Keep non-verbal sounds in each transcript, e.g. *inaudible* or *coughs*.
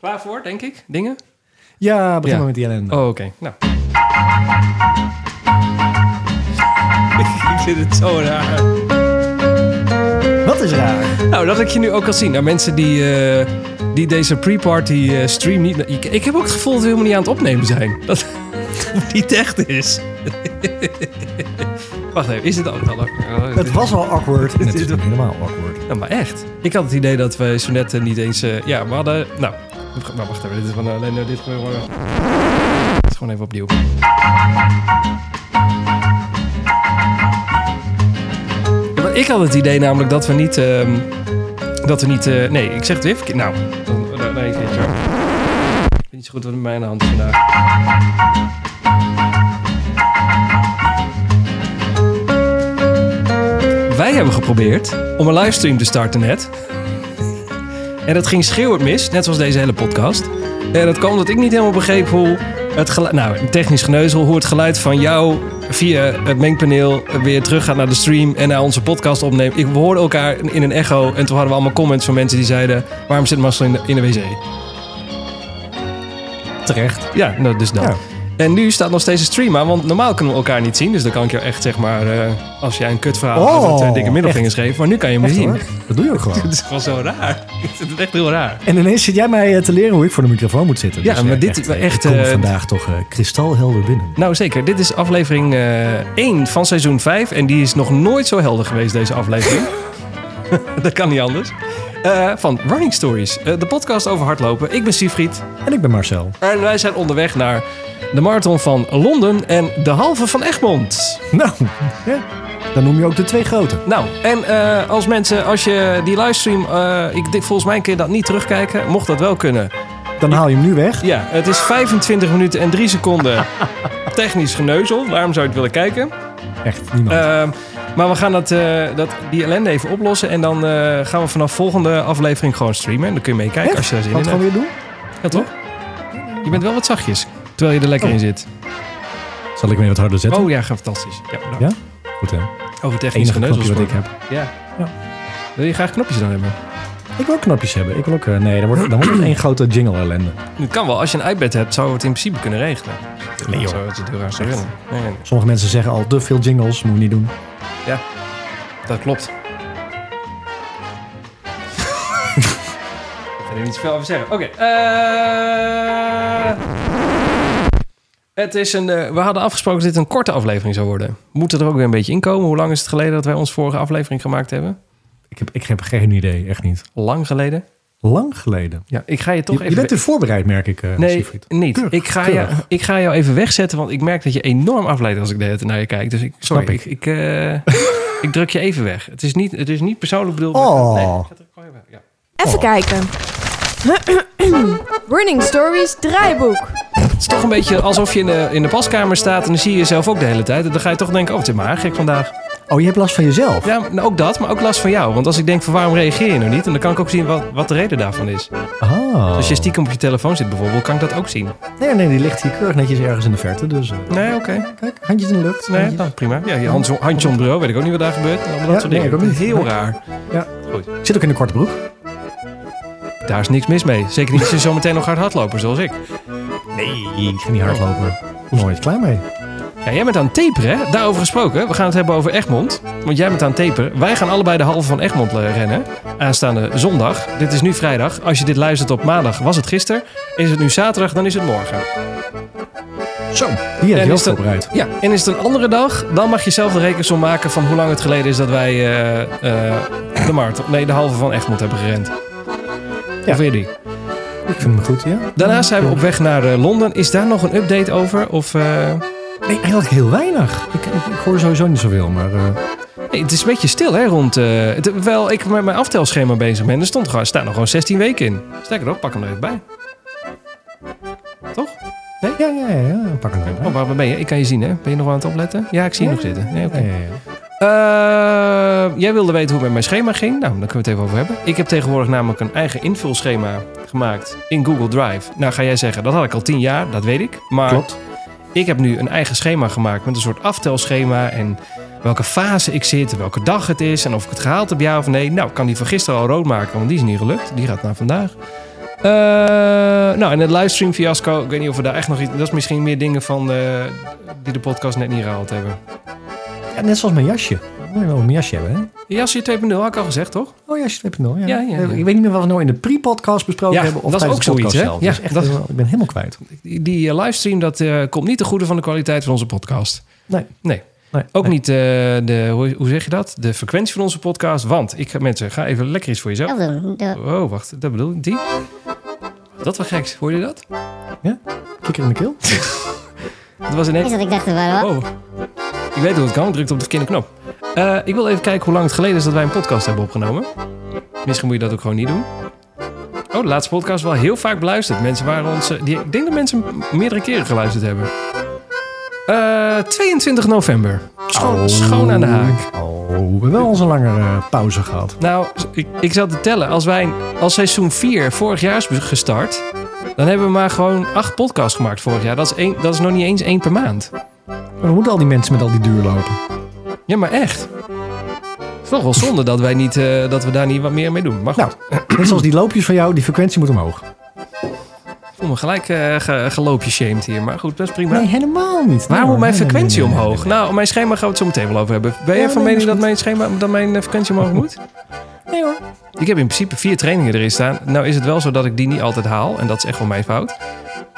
Klaar voor, denk ik? Dingen? Ja, begin Ja. maar met die ellende. Oh, oké. Nou. *laughs* ik vind het zo raar. Wat is raar? Nou, dat ik je nu ook kan zien. Nou, mensen die, eh, die deze pre-party eh, stream niet... Ik, ik heb ook het gevoel dat we helemaal niet aan het opnemen zijn. *laughs* Dat het niet echt is. *laughs* Wacht even, is dit ook al? Oh, Het dit- was al awkward. Het is is toch helemaal awkward. Nou, maar echt. Ik had het idee dat we zo net eh, niet eens... eh, ja, we hadden... Nou, we gaan- nou, wacht even. Dit is van ellende. Dit is gewoon... Het is gewoon even opnieuw. Ja, maar ik had het idee namelijk dat we niet... ehm, dat we niet... eh, nee, ik zeg het weer verkeerd. Nou, dan, dan, nee, dit jaar. Ik weet niet zo goed wat er met mij aan de hand is vandaag. Wij hebben geprobeerd om een livestream te starten net. En dat ging schreeuwend mis, net zoals deze hele podcast. En dat kwam omdat ik niet helemaal begreep hoe het geluid... Nou, technisch geneuzel, hoe het geluid van jou via het mengpaneel weer terug gaat naar de stream en naar onze podcast opneemt. Ik we hoorden elkaar in een echo en toen hadden we allemaal comments van mensen die zeiden... Waarom zit Marcel in de, in de wc? Terecht. Ja, nou, dus dat. Ja. En nu staat nog steeds een stream aan, want normaal kunnen we elkaar niet zien. Dus dan kan ik jou echt, zeg maar, eh, als jij een kutverhaal Oh, hebt, dat eh, dikke middelvingers geven. Maar nu kan je me Echt zien. hoor. Dat doe *laughs* je ook gewoon. Het is gewoon zo raar. *laughs* Het is echt heel raar. En ineens zit jij mij eh, te leren hoe ik voor de microfoon moet zitten. Ja, Dus, eh, maar dit echt, is wel eh, echt, Ik kom eh, vandaag toch eh, kristalhelder binnen. Nou zeker, dit is aflevering eh 1 van seizoen 5. En die is nog nooit zo helder geweest, deze aflevering. *laughs* Dat kan niet anders. Eh, van Running Stories, eh, de podcast over hardlopen. Ik ben Siegfried En ik ben Marcel. *laughs* en wij zijn onderweg naar de marathon van Londen en de halve van Egmond. Nou, ja. dan noem je ook de twee grote. Nou, en eh, als mensen, als je die livestream, eh, ik, denk- volgens mij kun je dat niet terugkijken. Mocht dat wel kunnen, Dan haal je hem nu weg. Ja, het is 25 minuten en 3 *laughs* seconden technisch geneuzel. Waarom zou je het willen kijken? Echt, niemand. Ehm, maar we gaan dat, eh, dat, die ellende even oplossen. En dan eh, gaan we vanaf volgende aflevering gewoon streamen. En dan kun je meekijken Echt? als je daar zin Gaan we in het gewoon hebt. weer doen? Ja, toch? Je bent wel wat zachtjes, terwijl je er lekker Oh. in zit. Zal ik hem weer wat harder zetten? Oh ja, fantastisch. Ja, nou, Ja? Goed hè. Over technisch Enige geneuzel knopje wat ik gesproken. heb. Ja. Ja. Wil je graag knopjes dan hebben? Ik wil ook knopjes hebben. Ik wil ook... eh, nee, dan wordt, dan *clears throat* wordt het één grote jingle ellende. Het kan wel. Als je een iPad hebt, zouden we het in principe kunnen regelen. Nee, joh. Zo, dat is het heel raar. zou Echt. willen. Nee, nee, nee. Sommige mensen zeggen al te veel jingles. Moeten we niet doen. Dat *laughs* klopt. ik kan er niet zoveel over zeggen. Oké. eh, het is een. eh, we hadden afgesproken dat dit een korte aflevering zou worden. We moeten er ook weer een beetje in komen. Hoe lang is het geleden dat wij ons vorige aflevering gemaakt hebben? Ik heb, ik heb geen idee. Echt niet. Lang geleden. Lang geleden. Ja, ik ga je toch je, je even. bent er voorbereid, merk ik, eh Nee, Siegfried. niet. Keurig, Ik ga, je, keurig. ik ga jou even wegzetten, want ik merk dat je enorm afleidt als ik de hele tijd naar je kijk. Dus ik, sorry, Snap ik, ik, eh, ik druk je even weg. Het is niet, het is niet persoonlijk bedoeld. Oh. nee, ik ga het gewoon even- ja. Even Oh. kijken. *clears throat* Running Stories draaiboek. Het is toch een beetje alsof je in de, in de paskamer staat en dan zie je jezelf ook de hele tijd. En dan ga je toch denken, oh, het is maar gek vandaag. Oh, je hebt last van jezelf? Ja, nou, ook dat, maar ook last van jou. Want als ik denk, van waarom reageer je nou niet? En dan kan ik ook zien wat, wat de reden daarvan is. Dus Ah. Als je stiekem op je telefoon zit bijvoorbeeld, kan ik dat ook zien. Nee, nee, die ligt hier keurig netjes ergens in de verte. Dus eh, Nee, oké. kijk, handjes in de lucht. Nee, handjes- nou, prima. Ja, je handje, handje om het bureau, weet ik ook niet wat daar gebeurt. Allemaal dat Ja, soort nee, dingen. ik ook niet. Heel raar. Ik Zit ook in de korte broek. Daar is niks mis mee. Zeker niet als je zometeen nog gaat hardlopen, zoals ik. Nee, ik ga niet hardlopen. Nooit klaar mee. Ja, jij bent aan het taperen, hè? Daarover gesproken. We gaan het hebben over Egmond. Want jij bent aan het taperen. Wij gaan allebei de halve van Egmond eh, rennen. Aanstaande zondag. Dit is nu vrijdag. Als je dit luistert op maandag, was het gisteren. Is het nu zaterdag, dan is het morgen. Zo, hier heb En je is ook dat- voorbereid. Ja, en is het een andere dag, dan mag je zelf de rekensom maken van hoe lang het geleden is dat wij eh, eh, de marathon, nee, de halve van Egmond hebben gerend. Ja. Of weer die. Ik vind hem goed, ja. Daarnaast zijn we op weg naar eh, Londen. Is daar nog een update over? Of, eh, Nee, eigenlijk heel weinig. Ik, ik, ik hoor sowieso niet zoveel, maar... eh, Nee, het is een beetje stil, hè, rond... eh het- terwijl ik met mijn aftelschema bezig ben. Er stond gewoon, staat nog gewoon 16 weken in. Sterker nog, pak hem er even bij. Toch? ja, ja, ja, ja. Pak hem erbij. Oh, waar waar ben je? Ik kan je zien, hè? Ben je nog aan het opletten? Ja, ik zie je nog zitten. Nee, oké. Ja, ja, ja. Eh, jij wilde weten hoe het met mijn schema ging. Nou, daar kunnen we het even over hebben. Ik heb tegenwoordig namelijk een eigen invulschema gemaakt in Google Drive. Nou, ga jij zeggen, dat had ik al 10 jaar, dat weet ik. Maar Klopt. ik heb nu een eigen schema gemaakt met een soort aftelschema. En welke fase ik zit, en welke dag het is en of ik het gehaald heb, ja of nee. Nou, ik kan die van gisteren al rood maken, want die is niet gelukt. Die gaat naar vandaag. Eh, nou, en het livestream fiasco. Ik weet niet of we daar echt nog iets... Dat is misschien meer dingen van eh, die de podcast net niet gehaald hebben. Ja, net zoals mijn jasje. Ik moet je wel mijn jasje hebben, hè? Jasje 2.0 had ik al gezegd, toch? Oh, jasje 2.0. Ja, Ja. ja, ja. Ik weet niet meer wat we nou in de pre-podcast besproken Ja, hebben. Of dat is tijdens ook de podcast zoiets, hè? zelf. Ja, dat is echt, dat- helemaal- ik ben helemaal kwijt. Die, die eh, livestream, dat eh, komt niet ten goede van de kwaliteit van onze podcast. Nee. Nee. Nee, Ook nee. niet eh, de, hoe, hoe zeg je dat? De frequentie van onze podcast. Want, ik, ga- mensen, ga even lekker iets voor jezelf. Oh, wacht. Dat bedoel ik. Die? Dat was geks. Hoorde je dat? Kikker in de keel. Dat was ineens... Is dat ik dacht, waar wat? Oh. Ik weet hoe het kan. Ik drukte op de verkeerde knop. Eh, ik wil even kijken hoe lang het geleden is dat wij een podcast hebben opgenomen. Misschien moet je dat ook gewoon niet doen. Oh, de laatste podcast wel heel vaak beluisterd. Mensen waren ons... eh, die, ik denk dat mensen hem meerdere keren geluisterd hebben. Eh, 22 november. Schoon, schoon aan de haak. Oh, we hebben wel eens een langere eh, pauze gehad. Nou, ik, ik zat te tellen. Als wij als seizoen 4 vorig jaar is gestart... dan hebben we maar gewoon acht podcasts gemaakt vorig jaar. Dat is, één, dat is nog niet eens één per maand. Maar we moeten al die mensen met al die duur lopen. Ja, maar echt. Het is toch wel zonde dat, wij niet, eh, dat we daar niet wat meer mee doen. Maar goed, Nou, net zoals die loopjes van jou, die frequentie moet omhoog. ik voel me gelijk eh ge, geloopje shamed hier. Maar goed, dat is prima. Nee, helemaal niet. Waar Nee, moet mijn nee, nee, frequentie nee, nee, omhoog? nee, Nou, mijn schema gaan we het zo meteen wel over hebben. Ben Ja, jij van nee, mening dat dat is mijn, schema, dat mijn eh, frequentie omhoog moet? Nee hoor. Ik heb in principe vier trainingen erin staan. Nou is het wel zo dat ik die niet altijd haal. En dat is echt wel mijn fout.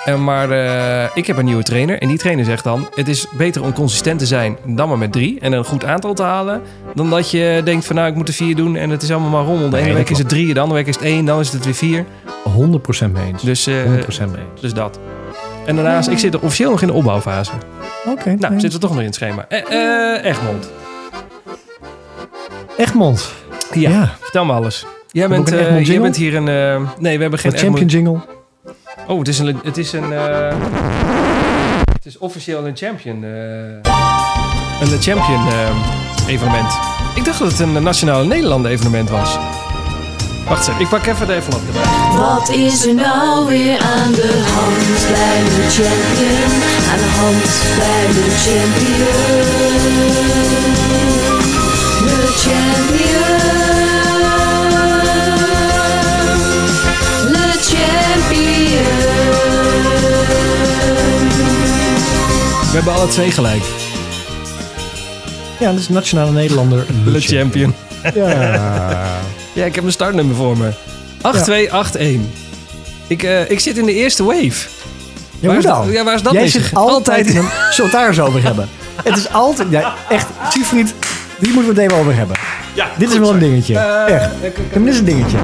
En maar eh, ik heb een nieuwe trainer. En die trainer zegt dan... Het is beter om consistent te zijn dan maar met drie. En een goed aantal te halen. Dan dat je denkt van nou ik moet er vier doen. En het is allemaal maar rommel. De Nee, ene dat week is het drie. De andere week is het één. Dan is het weer vier. 100% mee eens. Dus, eh, 100% mee eens. dus dat. En daarnaast, ik zit er officieel nog in de opbouwfase. Oké. Nou, nee. zitten we toch nog in het schema. Eh eh, Egmond, Egmond. Ja. Ja. vertel me alles. Jij Heb ik bent, een eh, Egmond jij jingle? bent hier een... eh, nee, we hebben geen Een champion jingle. Oh, het is een. Het is een. eh, het is officieel een champion. eh een champion eh, evenement. Ik dacht dat het een nationale Nederlanden evenement was. Wacht even, ik pak even de envelop erbij. Wat is er nou weer aan de hand bij de champion? Aan de hand bij de champion. De champion. De champion. We hebben alle twee gelijk. Ja, dat is Nationale Nederlander. De champion. *laughs* Ja. Ja, ik heb een startnummer voor me. 8281. Ik, eh, ik zit in de eerste wave. Ja, Waar hoe is dan? dat- ja, waar is dat Jij mee? zit Altijd- altijd in een... Zullen we het daar eens over hebben? Het is altijd... Ja, echt, Siegfried, die moeten we het even over hebben. Ja, Dit is wel een dingetje. Eh, echt. ik- ik- Dit is een dingetje.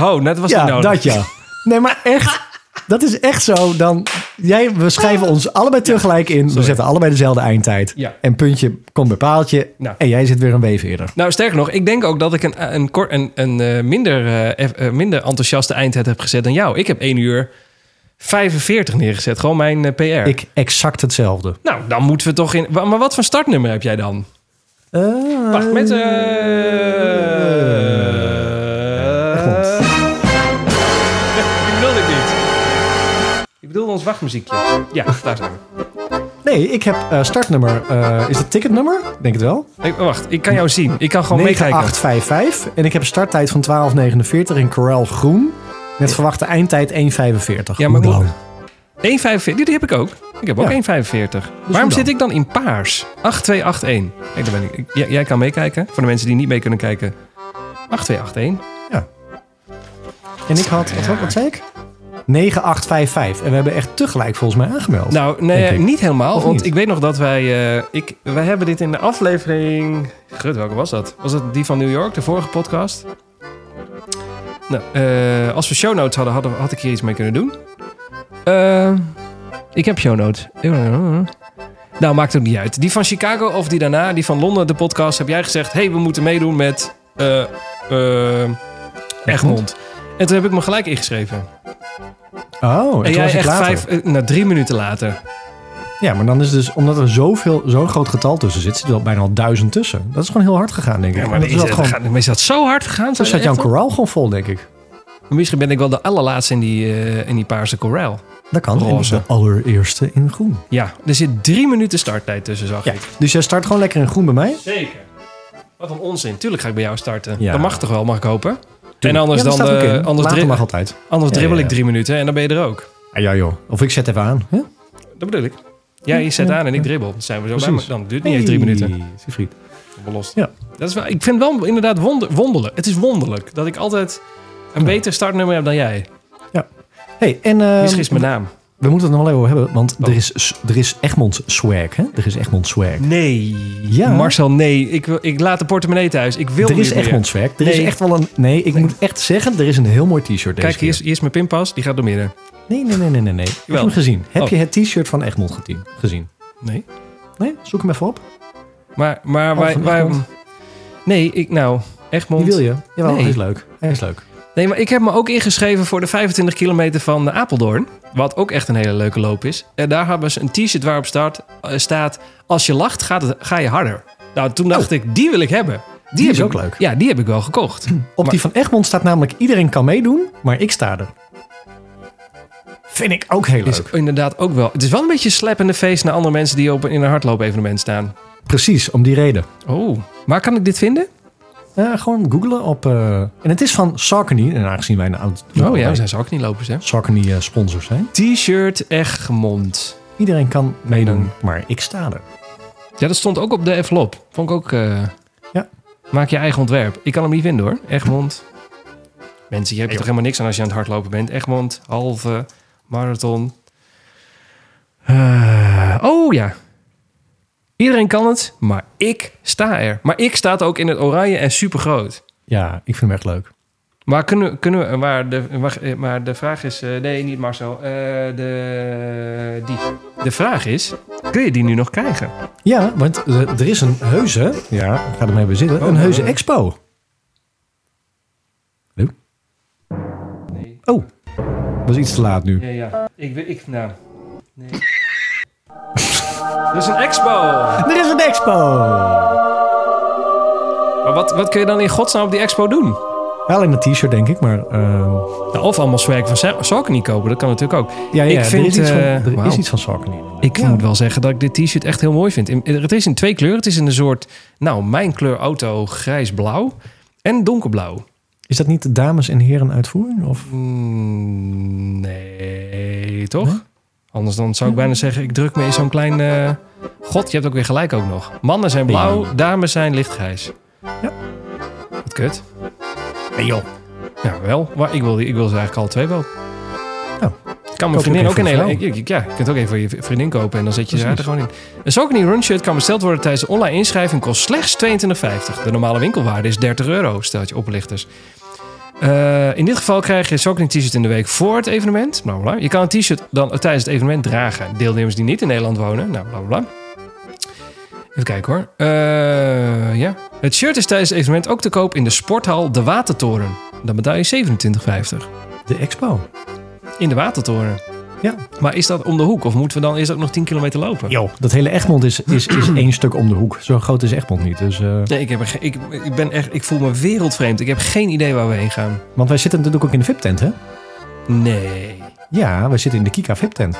Oh, net was Ja, niet nodig. dat ja. Nee, maar echt... Dat is echt zo. Dan, jij, we schrijven ons allebei tegelijk in. We zetten allebei dezelfde eindtijd. Ja. En puntje komt bij paaltje. Nou. En jij zit weer een weef eerder. Nou, sterker nog, ik denk ook dat ik een, een, kor- een, een eh, minder, eh, eff- eh, minder enthousiaste eindtijd heb gezet dan jou. Ik heb 1 uur 45 neergezet, gewoon mijn eh, PR. Ik exact hetzelfde. Nou, dan moeten we toch in... Wa- Maar wat voor startnummer heb jij dan? Eh, Wacht, met... eh, Egmond. *laughs* ik bedoelde het niet. Ik bedoelde ons wachtmuziekje. Ja, daar zijn we. Nee, ik heb eh, startnummer. eh, is dat ticketnummer? Ik Denk het wel. Ik- wacht, ik kan jou zien. Ik kan gewoon meekijken. 9855. En ik heb een starttijd van 12.49 in Corel Groen. Met verwachte eindtijd 1.45. Ja, maar Hoe moet- dan? 1,45. Die heb ik ook. Ik heb ook Ja. 1,45. Waarom dan? zit ik dan in paars? 8281. Nee, daar ben ik. ik- jij- jij kan meekijken. Voor de mensen die niet mee kunnen kijken. 8281. En ik had, wat, wat zei ik? 9855. En we hebben echt tegelijk volgens mij aangemeld. Nou, nee, Denk ik. niet helemaal. Of want niet? ik weet nog dat wij... eh, ik, wij hebben dit in de aflevering... Gut, welke was dat? Was het die van New York? De vorige podcast? Nou, eh, als we show notes hadden, hadden, we- had ik hier iets mee kunnen doen. Eh, ik heb show notes. Nou, maakt ook niet uit. Die van Chicago of die daarna, die van Londen, de podcast, heb jij gezegd... hey, we moeten meedoen met eh, eh, Egmond. En toen heb ik me gelijk ingeschreven. Oh, en en toen jij was ik echt later. vijf, eh, nou, drie minuten later. Ja, maar dan is dus, omdat er zoveel, zo'n groot getal tussen zit, zit er al bijna al duizend tussen. Dat is gewoon heel hard gegaan, denk ik. Ja, En maar dat is, is dat dat gewoon, gaat, is dat zo hard gegaan? toen Zo zat jouw Corel gewoon vol, denk ik. Misschien ben ik wel de allerlaatste in die, eh, in die paarse corral. Dat kan. En Roze. de allereerste in groen. Ja, er zit drie minuten starttijd tussen, zag Ja, ik. dus jij start gewoon lekker in groen bij mij? Zeker. Wat een onzin. Tuurlijk ga ik bij jou starten. Ja. Dat mag toch wel, mag ik hopen? En anders, Ja, dat dan, staat ook eh, in. anders, Later dri- mag altijd. anders Ja, dribbel ja, ik ja. drie minuten en dan ben je er ook. Ah, ja, joh. Of ik zet even aan. Ja? Dat bedoel ik. Ja, je zet aan en ik dribbel. Dan zijn we zo bij Precies. elkaar. Dan duurt het niet eens drie Hey, minuten. Siegfried. Belost. Ja. Dat is wel, ik vind wel inderdaad wonder, wonderlijk. Het is wonderlijk dat ik altijd een beter startnummer heb dan jij. Hey, en eh, Misschien is mijn naam. we moeten het nog wel even over hebben, want Oh. er, is, er is Egmond swag. Hè? Er is Egmond swag. Nee. Ja. Marcel, nee. Ik, wil- ik laat de portemonnee thuis. Ik wil er is niet meer. Egmond swag. Er Nee. is echt wel een. Nee, ik moet echt zeggen, er is een heel mooi t-shirt deze Kijk, hier is, keer. hier is mijn pinpas. Die gaat door midden. Nee, nee, nee, nee, nee. nee. Heb je Wel. hem gezien? Heb Oh. je het t-shirt van Egmond gete- gezien? Nee. Nee, zoek hem even op. Maar, maar Oh, wij, van wij- Egmond. Nee, ik nou. Egmond. Die wil je? Jawel, Nee. hij is leuk. Hij is leuk. Nee, maar ik heb me ook ingeschreven voor de 25 kilometer van eh, Apeldoorn. Wat ook echt een hele leuke loop is. En daar hebben ze een t-shirt waarop staat, eh, staat... Als je lacht, gaat het, ga je harder. Nou, toen dacht ik, die wil ik hebben. Die, Oh. Die heb is ik- ook leuk. Hm, Ja, die heb ik wel gekocht. Op die van Egmond staat namelijk iedereen kan meedoen, maar ik sta er. Vind ik ook heel Is leuk. inderdaad ook wel. Het is wel een beetje slap in de face naar andere mensen die op, in een hardloop-evenement staan. Precies, om die reden. Oh, waar kan ik dit vinden? Eh, gewoon googlen op... eh, en het is van Saucony, en aangezien wij een oud... Oh ja, we zijn ook niet lopers, hè? Saucony eh, sponsors zijn. T-shirt Egmond. Iedereen kan meedoen, Meedoen. maar ik sta er. Ja, dat stond ook op de envelop. Vond ik ook... eh, Ja. Maak je eigen ontwerp. Ik kan hem niet vinden hoor. Egmond. Mensen, je hebt er toch helemaal niks aan als je aan het hardlopen bent. Egmond, halve, marathon. Eh, oh ja. Iedereen kan het, maar ik sta er. Maar ik staat ook in het oranje en supergroot. Ja, ik vind hem echt leuk. Maar kunnen, kunnen we, maar de, wacht, eh, maar de vraag is, eh, nee, niet Marcel. Eh, de, die. de vraag is, kun je die nu nog krijgen? Ja, want eh, er is een heuse... Ja, ik ga ermee bezitten. Oh, Een heuse eh. expo. Hallo? Nee. Oh, was iets te laat nu. Ja, ja. Ik, weet- ik nou. Nee. Er is een expo. Er is een expo! Maar wat, wat kun je dan in godsnaam op die expo doen? Wel in een t-shirt, denk ik, maar... ehm, Nou, of allemaal zwerk van Sa- Saucony kopen, dat kan natuurlijk ook. Ja, ja, Ik er vind, is iets van, eh, er wauw. is iets van Saucony. Ik Ja. moet wel zeggen dat ik dit t-shirt echt heel mooi vind. In- Het is in twee kleuren. Het is in een soort, nou, mijn kleur auto grijs-blauw en donkerblauw. Is dat niet de dames en heren uitvoering? Of? Mm, nee, toch? Anders dan zou ik bijna zeggen, ik druk me in zo'n klein... eh, God, je hebt ook weer gelijk ook nog. Mannen zijn blauw, dames zijn lichtgrijs. Ja. Wat kut. Nee joh. Ja, wel. Maar ik wil, die- ik wil ze eigenlijk alle twee wel. Nou, Kan ook mijn vriendin een ook voor een hele... vrouw. ik- ik- Ja, je kunt ook even voor je vriendin kopen en dan zet je ze haar er Precies. gewoon in. Een Saucony Run shirt kan besteld worden tijdens de online inschrijving. Kost slechts 22,50. De normale winkelwaarde is 30 euro, stelt je oplichters. Eh, in dit geval krijg je Saucony t-shirt in de week voor het evenement. Bla, bla, bla. Je kan een t-shirt dan tijdens het evenement dragen. Deelnemers die niet in Nederland wonen. Nou, bla bla. bla. Even kijken hoor. Eh, ja. Het shirt is tijdens het evenement ook te koop in de sporthal De Watertoren. Dan betaal je 27,50. De expo. In de Watertoren. Ja. Maar is dat om de hoek? Of moeten we dan eerst ook nog 10 kilometer lopen? Joh. Dat hele Egmond is, *clears throat* is, is één stuk om de hoek. Zo groot is Egmond niet. Dus, eh, Nee, ik, heb er ge- ik, ik, ben echt, ik voel me wereldvreemd. Ik heb geen idee waar we heen gaan. want wij zitten natuurlijk ook in de VIP-tent, hè? Nee. Ja, wij zitten in de Kika VIP-tent.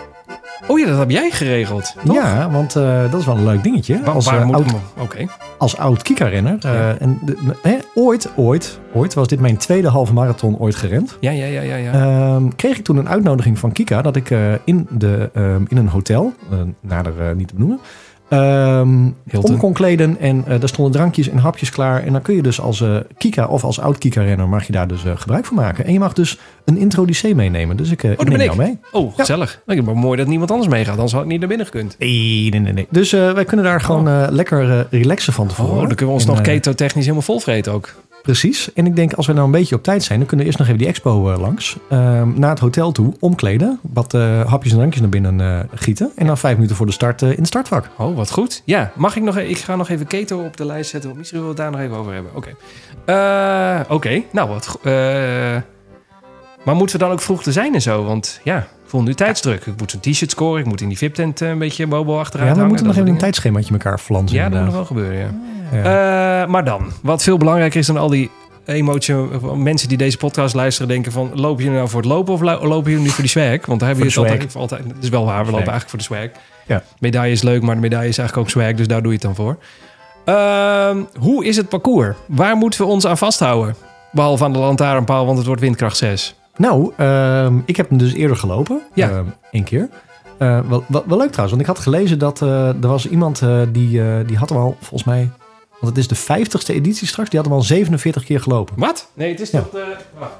Oh ja, dat heb jij geregeld. Toch? Ja, want eh, dat is wel een leuk dingetje. Waar, als, waar eh, moet oud, ik me- Oké. als oud Kika-renner. eh, Ja. en de- hè, ooit, ooit, ooit was dit mijn tweede halve marathon ooit gerend. Ja, ja, ja, ja. ja. Ehm, kreeg ik toen een uitnodiging van Kika dat ik eh, in, de, ehm, in een hotel, eh, nader eh, niet te benoemen, ehm Hilton. om kon kleden. En eh, daar stonden drankjes en hapjes klaar. En dan kun je dus als eh, Kika of als oud Kika-renner mag je daar dus eh, gebruik van maken. En je mag dus een introducé meenemen. Dus ik, eh, daar ik neem ben jou mee. oh, gezellig. Ik Maar mooi dat niemand anders meegaat. Anders had ik niet naar binnen gekund. Nee, nee, nee. nee. Dus eh, wij kunnen daar gewoon eh, lekker eh, relaxen van Oh, tevoren. dan kunnen we ons En, nog eh, keto-technisch helemaal volvreten ook. Precies. En ik denk, als we nou een beetje op tijd zijn, dan kunnen we eerst nog even die expo eh, langs. Ehm naar het hotel toe, omkleden. Wat eh, hapjes en drankjes naar binnen eh, gieten. En dan vijf minuten voor de start eh, in het startvak. Oh, wat goed. Ja, mag ik nog e- Ik ga nog even keto op de lijst zetten. want Misschien wil we het daar nog even over hebben. Oké. Eh, Oké, nou wat. go- eh, maar moeten we dan ook vroeg te zijn en zo? Want ja, ik voel nu tijdsdruk. Ik moet zo'n t-shirt scoren. Ik moet in die VIP-tent eh, een beetje bobo Ja, achteruit we hangen, moeten nog dat even een soort tijdschemaatje elkaar flansen. dingen. Ja, dat moet nog inderdaad. wel gebeuren, ja. Ja. Eh, maar dan, wat veel belangrijker is dan al die emotie... Mensen die deze podcast luisteren denken van... Loop je nou voor het lopen of lo- lopen je nu voor die swag? Want daar hebben Voor we de het altijd, altijd... Dat is wel waar, we Swag. lopen eigenlijk voor de swag. Ja. Medaille is leuk, maar de medaille is eigenlijk ook swag, dus daar doe je het dan voor. Ehm, hoe is het parcours? Waar moeten we ons aan vasthouden? Behalve aan de lantaarnpaal, want het wordt windkracht 6. Nou, ehm, ik heb hem dus eerder gelopen. Ja. Ehm, één keer. Eh, wel, wel, wel leuk trouwens, want ik had gelezen dat eh, er was iemand eh, die, eh, die had hem al, volgens mij... Want het is de 50ste editie straks, die had hem al 47 keer gelopen. Wat? Nee, het is Ja. toch de... wacht.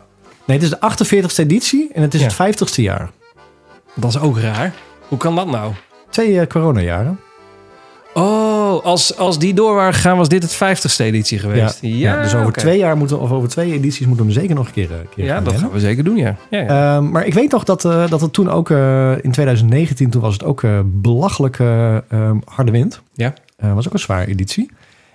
Nee, het is de 48ste editie en het is Ja. het 50ste jaar. Dat is ook raar. Hoe kan dat nou? Twee eh, coronajaren. Oh, als, als die door waren gegaan, was dit het 50ste editie geweest. Ja, dus over, oké. twee jaar moeten, we- of over twee edities moeten we hem zeker nog een keer, eh, keer Ja, gaan dat rennen. gaan we zeker doen, ja. ja, ja. Ehm, maar ik weet nog dat, eh, dat het toen ook eh, in 2019, toen was het ook eh, belachelijk eh, ehm, harde wind. Ja. Eh, was ook een zware editie.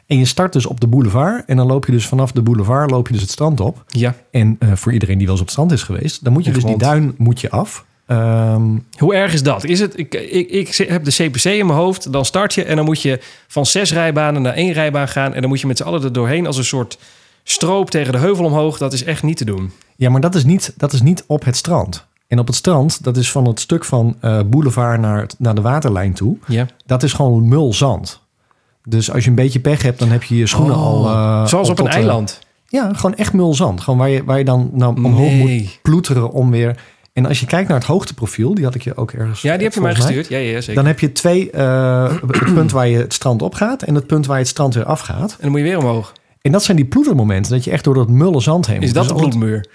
En je start dus op de boulevard en dan loop je dus vanaf de boulevard loop je dus het strand op. ja. En eh, voor iedereen die wel eens op het strand is geweest, dan moet je Echt dus die rond. duin moet je af. Ehm, Hoe erg is dat? Is het, ik, ik, ik heb de CPC in mijn hoofd, dan start je en dan moet je van zes rijbanen naar één rijbaan gaan. En dan moet je met z'n allen er doorheen als een soort stroop tegen de heuvel omhoog. Dat is echt niet te doen. ja, maar dat is, niet, dat is niet op het strand. En op het strand, dat is van het stuk van eh, boulevard naar, het- naar de waterlijn toe. Ja. Dat is gewoon mulzand. Dus als je een beetje pech hebt, dan heb je je schoenen al... eh, Oh, Zoals al op een tot, eh, eiland. Ja, gewoon echt mulzand. Gewoon waar je, waar je dan nou omhoog Nee. moet ploeteren om weer... En als je kijkt naar het hoogteprofiel, die had ik je ook ergens... Ja, die heb je mij volgens mij, gestuurd. Ja, ja, zeker. Dan heb je twee, eh, het punt waar je het strand op gaat en het punt waar je het strand weer afgaat. En dan moet je weer omhoog. En dat zijn die ploetermomenten, dat je echt door dat mulle zand heen Is moet. dat Dus de al het- bloedmuur?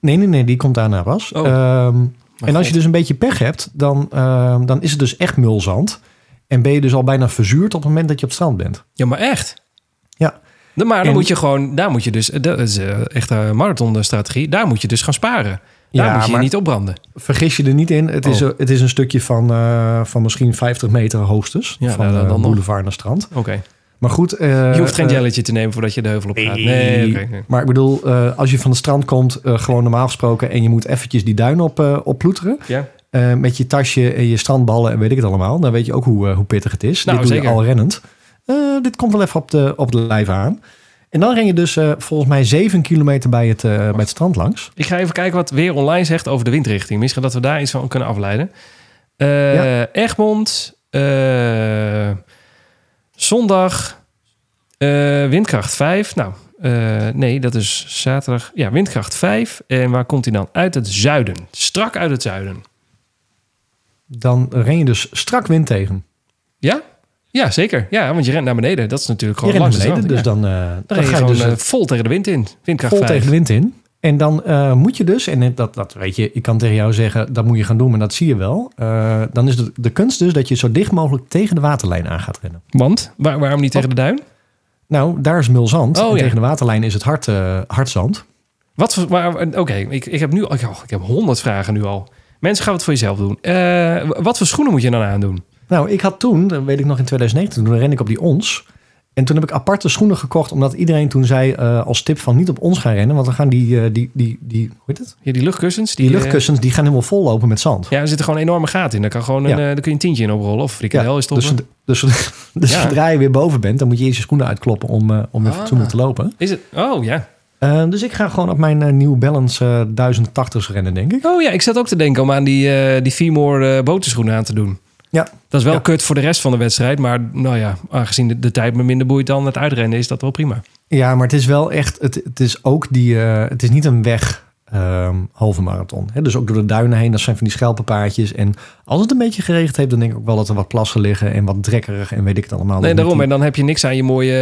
Nee, nee, nee, die komt daarna pas. Oh. Ehm, en God. als je dus een beetje pech hebt, dan, ehm, dan is het dus echt mulzand. En ben je dus al bijna verzuurd op het moment dat je op het strand bent. Ja, maar echt. Ja. Dan- Maar dan En- moet je gewoon, daar moet je dus, dat is eh, echt een marathonstrategie, daar moet je dus gaan sparen. Daar Ja, moet je maar- je niet opbranden. Vergis je er niet in. Het, is, Oh. een- het is een stukje van, eh, van misschien 50 meter hoogstens. Ja, van nou, dan- eh, dan nog. boulevard naar strand. Oké. Maar goed. eh, Je hoeft geen jelletje te nemen voordat je de heuvel op gaat. Nee, oké, nee. Maar ik bedoel, eh, als je van het strand komt, eh, gewoon normaal gesproken... en je moet eventjes die duin op, eh, opploeteren... Ja. eh, met je tasje en je strandballen en weet ik het allemaal... dan weet je ook hoe, eh, hoe pittig het is. Nou, dit doe zeker. je al rennend. Eh, dit komt wel even op de, op de lijf aan. En dan ren je dus eh, volgens mij 7 kilometer bij het, eh, bij het strand langs. Ik ga even kijken wat Weer Online zegt over de windrichting. Misschien dat we daar iets van kunnen afleiden. Eh, Ja. Egmond, eh, zondag, eh, windkracht 5. Nou, eh, nee, dat is zaterdag. Ja, windkracht 5. En waar komt hij dan? Uit het zuiden. Strak uit het zuiden. Dan ren je dus strak wind tegen. Ja? Ja, zeker. Ja, want je rent naar beneden. Dat is natuurlijk Je gewoon rent naar langs beneden, de dus strand. dan, eh, Ja. Dan, dan, ga ga je je dus gewoon het eh, vol tegen de wind in. Windkracht vol 5. tegen de wind in. En dan eh, moet je dus, en dat, dat weet je, ik kan tegen jou zeggen, dat moet je gaan doen, maar dat zie je wel. Eh, dan is de, de kunst dus dat je zo dicht mogelijk tegen de waterlijn aan gaat rennen. Want? Waar- waarom niet tegen de duin? Nou, daar is mulzand. Oh, en ja. tegen de waterlijn is het hard, eh, hard zand. Wat voor, maar, oké, ik, ik heb nu al, oh, ik heb honderd vragen nu al. Mensen, gaan het voor jezelf doen. Eh, wat voor schoenen moet je dan aandoen? Nou, ik had toen, dat weet ik nog in 2019, toen ren ik op die ons. En toen heb ik aparte schoenen gekocht, omdat iedereen toen zei eh, als tip van niet op ons gaan rennen, want dan gaan die, eh, die, die, die hoe heet het? Ja, die luchtkussens. Die eh, luchtkussens, die gaan helemaal vol lopen met zand. ja, er zitten gewoon enorme gaten in. Daar, kan gewoon een, Ja. eh, daar kun je een tientje in oprollen. Of frikandel is dus, stoppen. dus, dus Ja. zodra *laughs* je weer boven bent, dan moet je eerst je schoenen uitkloppen om, eh, om weer Ah. fatsoenlijk te lopen. Is het? Oh ja. Eh, dus ik ga gewoon op mijn nieuw New Balance eh, 1080's rennen, denk ik. Oh ja, ik zat ook te denken om aan die, eh die Feymour eh, boterschoenen aan te doen. Ja. Dat is wel Ja. kut voor de rest van de wedstrijd. Maar nou ja, aangezien de, de tijd me minder boeit dan het uitrennen, is dat wel prima. Ja, maar het is wel echt, het, het is ook die, eh, het is niet een weg ehm, halve marathon. Hè? Dus ook door de duinen heen, dat zijn van die schelpenpaadjes. En als het een beetje geregend heeft, dan denk ik ook wel dat er wat plassen liggen en wat drekkerig en weet ik het allemaal. Nee, Dat moet daarom. die- En dan heb je niks aan je mooie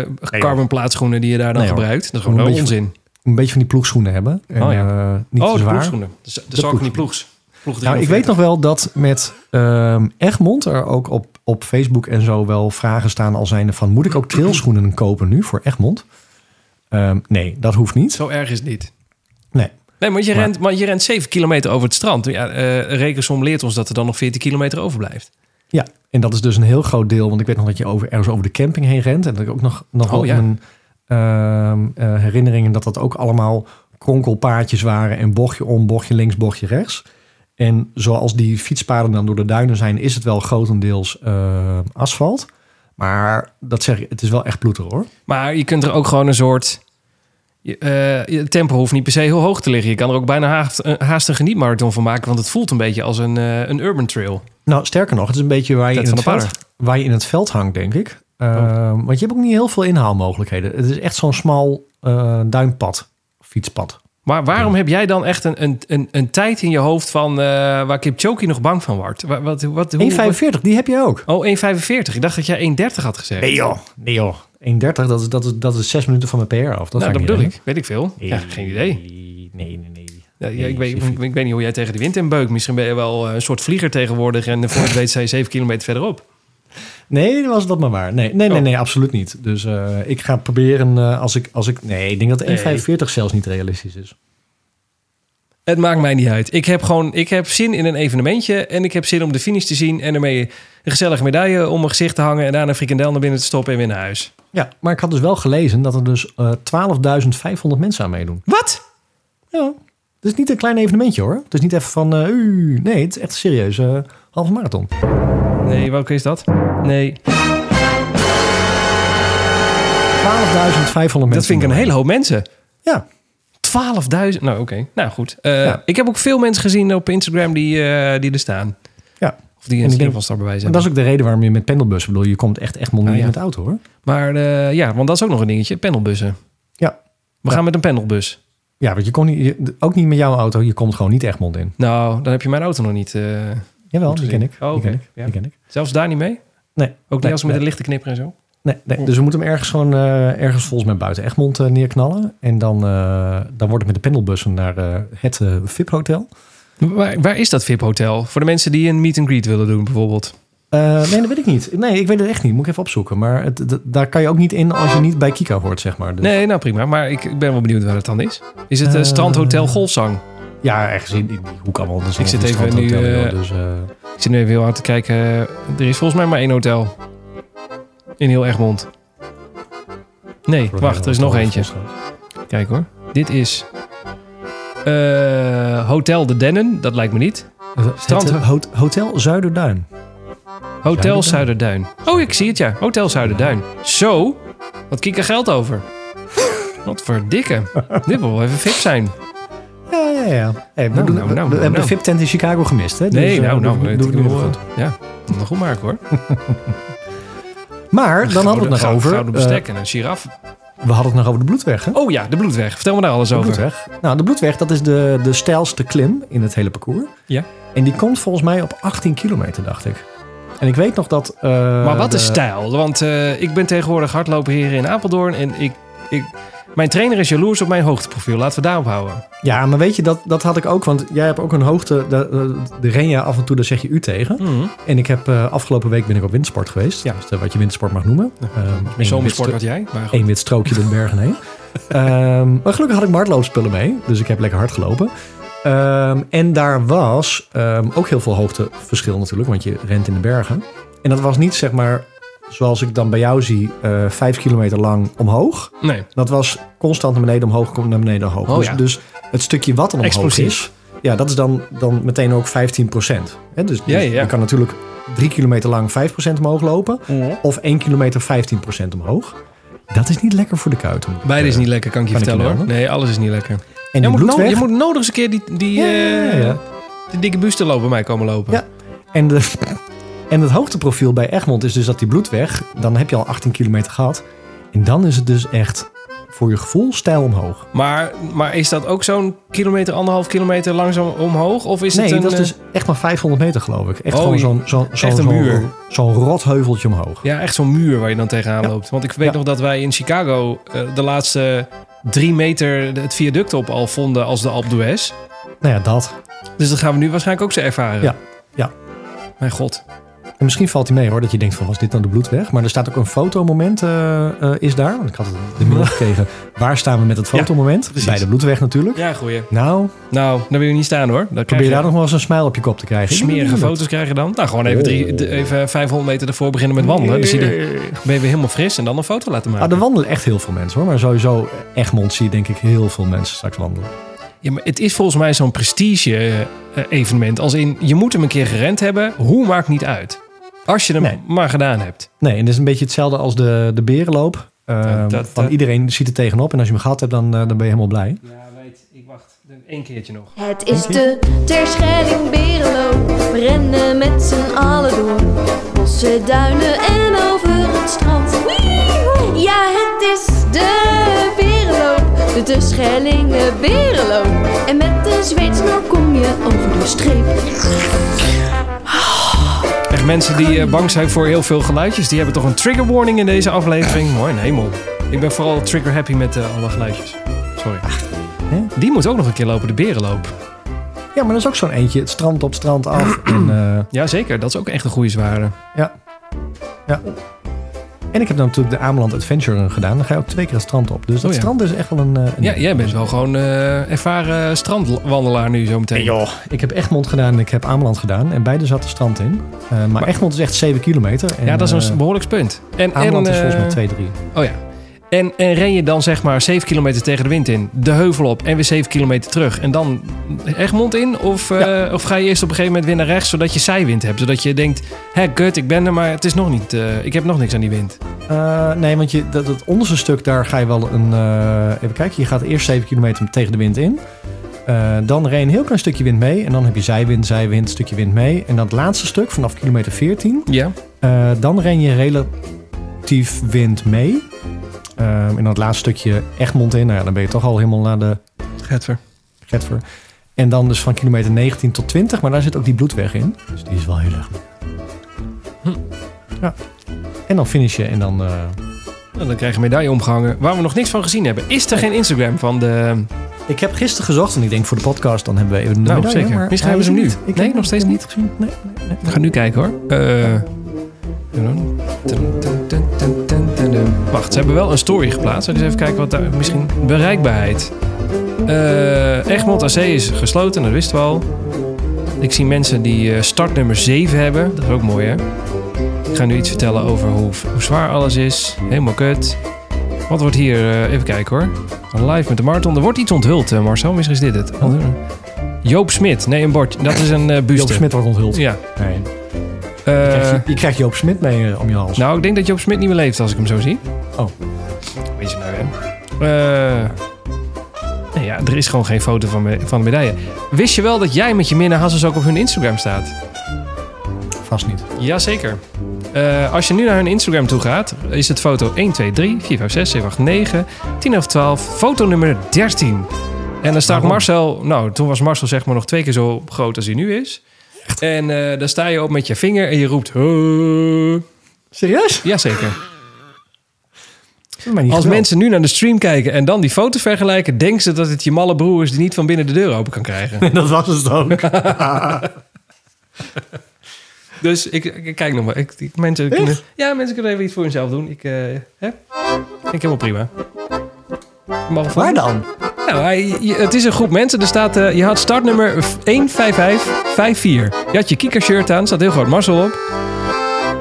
eh, hoor. carbon plaatschoenen die je daar dan Nee, hoor. gebruikt. Dat is Moet gewoon een beetje- onzin. Een beetje van die ploegschoenen hebben. En, Oh oh, ja. niet oh, te de zwaar. ploegschoenen. De, de, zak van die ploegs. Ploeg Nou, ik 340. weet nog wel dat met ehm, Egmond er ook op, op Facebook en zo wel vragen staan al zijnde van... moet ik ook trailschoenen kopen nu voor Egmond? Ehm, nee, dat hoeft niet. Zo erg is het niet. Nee. Nee, want je, Maar- rent, maar je rent 7 kilometer over het strand. Ja, eh rekensom leert ons dat er dan nog 14 kilometer overblijft. Ja, en dat is dus een heel groot deel. Want ik weet nog dat je over, ergens over de camping heen rent. En dat ik ook nog, nog Oh, wel ja. in mijn ehm, eh, herinneringen... dat dat ook allemaal kronkelpaadjes waren. En bochtje om, bochtje links, bochtje rechts. En zoals die fietspaden dan door de duinen zijn... is het wel grotendeels eh, asfalt. Maar dat zeg ik, het is wel echt ploeter hoor. Maar je kunt er ook gewoon een soort... Je, eh, je tempo hoeft niet per se heel hoog te liggen. Je kan er ook bijna haast, eh, haast een genietmarathon van maken. Want het voelt een beetje als een, eh, een urban trail. Nou, sterker nog, het is een beetje waar je, Ted in het, van der veld, Oh. waar je in het veld hangt, denk ik. Ehm, Want je hebt ook niet heel veel inhaalmogelijkheden. Het is echt zo'n smal eh, duinpad, fietspad. Maar waarom heb jij dan echt een, een, een, een tijd in je hoofd van eh waar Kipchoge nog bang van wordt? Wat, wat, wat, hoe- 1,45, die heb je ook. Oh, 1,45. Ik dacht dat jij 1,30 had gezegd. Nee joh, nee joh. 1,30, dat is, dat, is, dat is 6 minuten van mijn PR af. Dat, nou, ga dat niet bedoel redden. ik. Weet ik veel. Ja, geen idee. Nee, nee, nee. Ja, ja, Nee, ik, weet, Sifi. ik weet niet hoe jij tegen de wind in beukt. Misschien ben je wel eh, een soort vlieger tegenwoordig. En voor het weet zij zeven kilometer verderop. Nee, was dat maar waar. Nee, nee, Oh. nee, nee absoluut niet. Dus eh, ik ga proberen eh, als, ik, als ik... Nee, ik denk dat 1,45 zelfs niet realistisch is. Het maakt mij niet uit. Ik heb gewoon ik heb zin in een evenementje. En ik heb zin om de finish te zien. En daarmee een gezellige medaille om mijn gezicht te hangen. En daarna een frikandel naar binnen te stoppen en weer naar huis. Ja, maar ik had dus wel gelezen dat er dus eh 12.500 mensen aan meedoen. Wat? Ja. Het is niet een klein evenementje hoor. Het is niet even van... eh, uh, nee, het is echt serieus. eh halve marathon. Nee, welke is dat? Nee, 12.500 mensen. dat vind ik een hele hoop mensen. Ja. 12.000. Nou, oké. Nou, goed. Eh, Ja. Ik heb ook veel mensen gezien op Instagram die, eh, die er staan. Ja. Of die En een ik denk- van startbewijs En hebben. dat is ook de reden waarom je met pendelbussen... bedoel, je komt echt echt niet Ah, ja. met de auto hoor. Maar eh, ja, want dat is ook nog een dingetje. Panelbussen. Ja. We gaan met een panelbus. Ja, want je kon niet, je- ook niet met jouw auto. Je komt gewoon niet Egmond in. Nou, dan heb je mijn auto nog niet. eh, Jawel, Moet die zien. ken ik. Oh, die oké. ken ik. Ja. Die ken ik. zelfs daar niet mee. Nee. Ook niet nee, als we met nee. een lichte knipper en zo. Nee, nee. Dus we moeten hem ergens gewoon eh, ergens volgens mij buiten Egmond eh, neerknallen. En dan, eh, dan wordt het met de pendelbussen naar eh, het eh, VIP-hotel. Waar, waar is dat VIP-hotel? Voor de mensen die een meet and greet willen doen, bijvoorbeeld. Eh, nee, dat weet ik niet. Nee, ik weet het echt niet. Moet ik even opzoeken. Maar het, d- daar kan je ook niet in als je niet bij Kika hoort, zeg maar. Dus- Nee, nou prima. Maar ik, ik ben wel benieuwd waar het dan is. Is het eh, Eh, Strandhotel Golfzang? Ja, ergens in die die hoek allemaal. Dat is Ik zit allemaal even een nu, strandhotel, eh, joh. dus, eh, Ik zit nu even heel hard te kijken. Er is volgens mij maar één hotel. In heel Egmond. Nee, wacht, er is nog eentje. Kijk hoor. Dit is eh, Hotel de Dennen. Dat lijkt me niet. Het, Strand- eh, hot- hotel Zuiderduin. Hotel Zuiderduin. Zuiderduin. Oh, ik zie het ja. Hotel Zuiderduin. Zo, wat kiek er geld over. Wat *laughs* verdikke. Dit wil wel even fit zijn. Ja, ja, ja. Hey, we Nou, nou, doen- we- nou, we nou, hebben nou. de VIP-tent in Chicago gemist. Hè? Dus, Nee, eh, nou, doe- nou. doe- eh, doe- doe- ik doe- bedoel, eh, Ja, moet goed maken hoor. Maar dan hadden we het nog over. Gouden eh, bestek en een giraf. we hadden het nog over de bloedweg. Hè? Oh ja, de bloedweg. Vertel me daar alles de over. bloedweg. Nou, de bloedweg, dat is de, de stijlste klim in het hele parcours. Ja. En die komt volgens mij op 18 kilometer, dacht ik. En ik weet nog dat. eh, Maar wat de- is stijl? Want eh, ik ben tegenwoordig hardloper hier in Apeldoorn. En ik, ik, mijn trainer is jaloers op mijn hoogteprofiel. Laten we daarop houden. Ja, maar weet je, dat, dat had ik ook. Want jij hebt ook een hoogte. De, de, de Renja af en toe, daar zeg je u tegen. En ik heb eh, afgelopen week ben ik op wintersport geweest. Ja. Dus, eh, wat je wintersport mag noemen. Ehm, één Zomersport windstro- had jij. Maar goed. één wit strookje door de bergen heen. Ehm, maar gelukkig had ik mijn hardloopspullen mee. Dus ik heb lekker hard gelopen. Ehm, en daar was ehm, ook heel veel hoogteverschil natuurlijk. Want je rent in de bergen. En dat was niet zeg maar zoals ik dan bij jou zie. eh, vijf kilometer lang omhoog. Nee. Dat was constant naar beneden omhoog, komt naar beneden omhoog. Oh, dus, ja. dus het stukje wat dan omhoog Explosief. is. Ja, dat is dan, dan meteen ook 15 procent. Dus, dus Ja, ja, ja. je kan natuurlijk drie kilometer lang 5 omhoog lopen. Mhm. Of 1 kilometer 15% omhoog. Dat is niet lekker voor de kuiten. moet ik, Beide is eh, niet lekker, kan ik je kan ik je vertellen hoor. melden? Nee, alles is niet lekker. Je En die moet, no- bloedweg... je moet nodig eens een keer die, die, Ja, eh, ja, ja. die dikke buste lopen bij mij komen lopen. Ja. En, de, en het hoogteprofiel bij Egmond is dus dat die bloedweg... Dan heb je al 18 kilometer gehad. En dan is het dus echt voor je gevoel stijl omhoog. Maar, maar is dat ook zo'n kilometer, anderhalf kilometer langzaam omhoog? Of is het nee, een, dat is eh, dus echt maar 500 meter geloof ik. Echt Oh, gewoon je- zo'n zo'n zo'n echt een muur. zo'n zo'n rotheuveltje omhoog. Ja, echt zo'n muur waar je dan tegenaan Ja. loopt. Want ik weet Ja. nog dat wij in Chicago eh, de laatste drie meter het viaduct op al vonden als de Alpe d'Huez. Nou ja, dat. Dus dat gaan we nu waarschijnlijk ook zo ervaren. Ja, ja. Mijn god. En misschien valt hij mee hoor, dat je denkt van was dit nou de bloedweg? Maar er staat ook een fotomoment eh, eh, is daar. Want ik had het de *laughs* mail gekregen. Waar staan we met het Ja, fotomoment? precies. Bij de bloedweg natuurlijk. Ja, goeie. Nou, Nou, daar wil je niet staan hoor. Dan probeer krijg daar nog wel eens een smile op je kop te krijgen. Smerige foto's krijg je dan. Nou, gewoon even, drie, Oh. de- even 500 meter ervoor beginnen met wandelen. Dan zie je, ben je weer helemaal fris en dan een foto laten maken. Ah, er wandelen echt heel veel mensen hoor. Maar sowieso Egmond zie je denk ik heel veel mensen straks wandelen. Ja, maar het is volgens mij zo'n prestige-evenement. Als in, je moet hem een keer gerend hebben. Hoe maakt niet uit. Als je hem Nee. maar gedaan hebt. Nee, en dat is een beetje hetzelfde als de, de berenloop. Ehm, Dat- dat- van dat- iedereen ziet er tegenop. En als je hem gehad hebt, dan, eh, dan ben je helemaal blij. Ja, weet, ik wacht één keertje nog. Het is de Terscheiding Berenloop. We rennen met z'n allen door. Bossen, duinen en over het strand. Wiehoe! Ja, het is de Berenloop. de Terschellingen Berelo. En met de zweetsnoer kom je over de streep. Echt mensen die eh, bang zijn voor heel veel geluidjes, die hebben toch een trigger warning in deze Ah. aflevering. Mooi, een hemel. Ik ben vooral trigger happy met eh, alle geluidjes. Sorry. Ah. Hè? Die moet ook nog een keer lopen, de berenloop. Ja, maar dat is ook zo'n eentje. Het strand op *clears throat* strand af. en, eh, Jazeker, dat is ook echt een goede zware. en ik heb dan natuurlijk de Ameland Adventure gedaan. Dan ga je ook twee keer het strand op. Dus dat Oh ja. strand is echt wel een... eh, een Ja, jij bent wel gewoon eh, ervaren strandwandelaar nu zo meteen. En joh, ik heb Egmond gedaan en ik heb Ameland gedaan. En beide zaten strand in. Eh, maar, Egmond is echt 7 kilometer. En, ja, dat is eh, een behoorlijk punt. En, Ameland en, is volgens mij eh, 2, 3. Oh ja. En, en ren je dan zeg maar 7 kilometer tegen de wind in, de heuvel op en weer 7 kilometer terug en dan Egmond in? Of, eh, of ga je eerst op een gegeven moment weer naar rechts zodat je zijwind hebt? Zodat je denkt, hé kut, ik ben er, maar het is nog niet, eh, ik heb nog niks aan die wind. Eh, nee, want je, dat, dat onderste stuk, daar ga je wel een... eh, even kijken, je gaat eerst 7 kilometer tegen de wind in. Eh, dan ren je een heel klein stukje wind mee. En dan heb je zijwind, zijwind, stukje wind mee. En dat laatste stuk, vanaf kilometer 14... Ja. eh, dan ren je relatief wind mee. Eh, en dat laatste stukje Egmond in. Nou ja, dan ben je toch al helemaal naar de Getver. Getver. En dan dus van kilometer 19 tot 20, maar daar zit ook die bloedweg in. Dus die is wel heel erg. Hm. Ja. En dan finish je en dan... eh, Nou, dan krijg je een medaille omgehangen waar we nog niks van gezien hebben. Is er geen Instagram van de... Ik heb gisteren gezocht en ik denk voor de podcast, dan hebben we even de Nou, medaille, zeker. maar Misschien hij hebben ze hem is nu. er niet. Nee, heb nog steeds hem niet? gezien. Nee, nee, nee. We gaan nu kijken hoor. Eh, tudum, tudum, tudum, tudum, tudum, tudum. Wacht, ze hebben wel een story geplaatst. Dus even kijken wat daar... Misschien bereikbaarheid. Eh, Egmond AC is gesloten, dat wisten we al. Ik zie mensen die eh, startnummer 7 hebben. Dat is ook mooi, hè? Ik ga nu iets vertellen over hoe, hoe zwaar alles is. Helemaal kut. Wat wordt hier... eh, even kijken hoor. Live met de marathon. Er wordt iets onthuld, eh, Marcel. Misschien is dit het. Oh, Joop Smit. Nee, een bord. Dat is een eh buste. Joop Smit wordt onthuld. Ja. Nee. Je, Eh, krijgt, je krijgt Joop Smit mee eh, om je hals. nou, ik denk dat Job Smit niet meer leeft als ik hem zo zie. Oh. Weet je nou, hè? Eh, nee, ja, er is gewoon geen foto van, me- van de medaille. Wist je wel dat jij met je Minna Hassels ook op hun Instagram staat? Vast niet. Jazeker. Eh als je nu naar hun Instagram toe gaat, is het foto 1, 2, 3, 4, 5, 6, 7, 8, 9, 10 of 12, foto nummer 13. En dan staat Waarom? Marcel, nou, toen was Marcel zeg maar nog twee keer zo groot als hij nu is. En eh, dan sta je op met je vinger en je roept. "Huh." Serieus? Jazeker. Maar niet Als geweld. mensen nu naar de stream kijken en dan die foto vergelijken, denken ze dat het je malle broer is die niet van binnen de deur open kan krijgen. *laughs* Dat was het ook. dus ik, ik kijk nog maar. Ik, ik- mensen kunnen, ja, mensen kunnen even iets voor hunzelf doen. Ik, eh hè? Vind ik helemaal prima. Mag Waar dan? Nou, hij- je- het is een groep mensen. Er staat, eh, je had startnummer 15554. Je had je kiekershirt aan, staat heel groot Marcel op.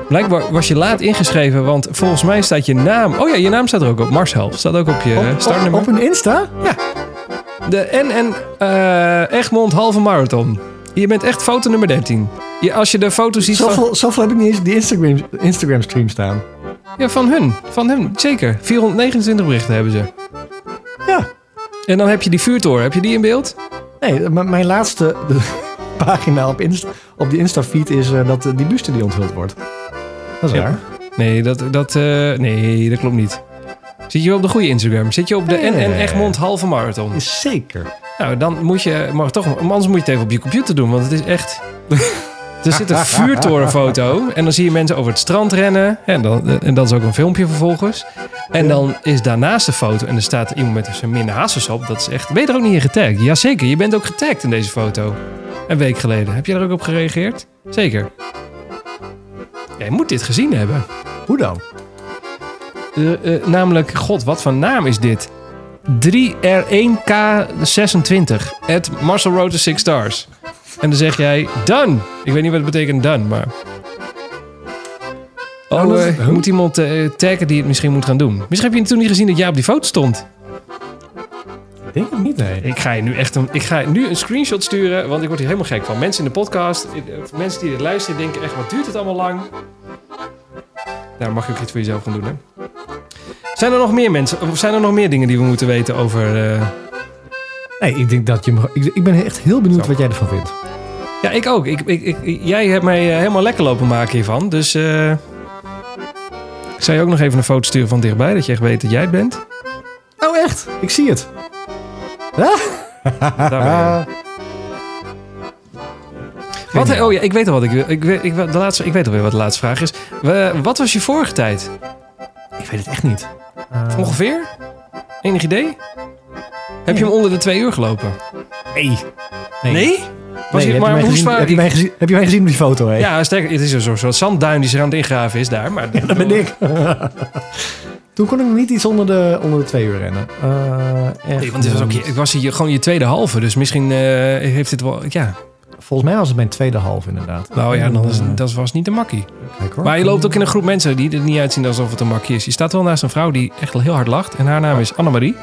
Blijkbaar was je laat ingeschreven, want volgens mij staat je naam... Oh ja, je naam staat er ook op. Marcel staat ook op je eh, Op, op, startnummer. op een Insta? De NN eh Egmond Halve Marathon. Je bent echt foto nummer 13. Je, als je de foto ziet van, Zoveel, zoveel heb ik niet eens op die Instagram, Instagram stream staan. ja, van hun. Van hun, zeker. 429 berichten hebben ze. Ja. En dan heb je die vuurtoren. Heb je die in beeld? Nee, m- mijn laatste de, *laughs* pagina op, Insta, op die Insta-feed is eh, dat eh, die buste die onthuld wordt. Dat is Ja. raar. Nee, dat, dat, eh, nee, dat klopt niet. Zit je wel op de goede Instagram? Zit je op de Nee. NN Egmond Halve Marathon? Is zeker. Nou, dan moet je... Maar toch, anders moet je het even op je computer doen, want het is echt... Er zit een vuurtorenfoto en dan zie je mensen over het strand rennen. En, dan, en dat is ook een filmpje vervolgens. En dan is daarnaast de foto en er staat iemand met zijn minder hasses op. Dat is echt... Ben je er ook niet in getagd? Jazeker, je bent ook getagd in deze foto. Een week geleden. Heb jij er ook op gereageerd? Zeker. Jij moet dit gezien hebben. Hoe dan? Eh, eh, namelijk, god, wat voor naam is dit? 3R1K26. At Marcel Road to Six Stars. En dan zeg jij, done. Ik weet niet wat het betekent, done, maar... Oh, Nou, dat is- eh, huh? moet iemand eh, taggen die het misschien moet gaan doen. Misschien heb je toen niet gezien dat jij op die foto stond. Ik denk het niet, nee. Ik ga je nu echt een, ik ga je nu een screenshot sturen, want ik word hier helemaal gek van. Mensen in de podcast, eh, mensen die dit luisteren, denken echt, wat duurt het allemaal lang? Nou, mag je ook iets voor jezelf gaan doen, hè? Zijn er nog meer mensen, of zijn er nog meer dingen die we moeten weten over... eh, Nee, ik denk dat je me- Ik, ik ben echt heel benieuwd Zo. wat jij ervan vindt. Ja, ik ook. Ik, ik, ik- jij hebt mij eh, helemaal lekker lopen maken hiervan, dus... eh, Ik zou je ook nog even een foto sturen van dichtbij, dat je echt weet dat jij het bent. Oh, echt? Ik zie het. Ah. Daar ben je. Wat, Geniaal. oh ja, ik weet al wat ik wil. Ik weet, ik, de laatste, ik weet alweer wat de laatste vraag is. We- wat was je vorige tijd? Ik weet het echt niet. Eh, Ongeveer? Enig idee? Heb je hem onder de twee uur gelopen? Ah. nee. Nee? Was heb, je, je maar mij hoe gezien, zwaar... heb, je mij gezien, heb je mij gezien op die foto? Hè? Ja, sterk, het is een soort- soort zandduin die ze aan het ingraven is daar. *laughs* Maar *laughs* dat ben ik. Toen kon ik nog niet iets onder de, onder de twee uur rennen. Eh, echt, Nee, want dit was ook, je- het was hier gewoon je tweede halve. Dus misschien eh, heeft dit wel... Ja, Volgens mij was het mijn tweede half inderdaad. nou ja, dan is, Eh, dat was niet een makkie. kijk hoor. Maar je loopt ook in een groep mensen die er niet uitzien alsof het een makkie is. Je staat wel naast een vrouw die echt heel hard lacht. En haar naam is Annemarie.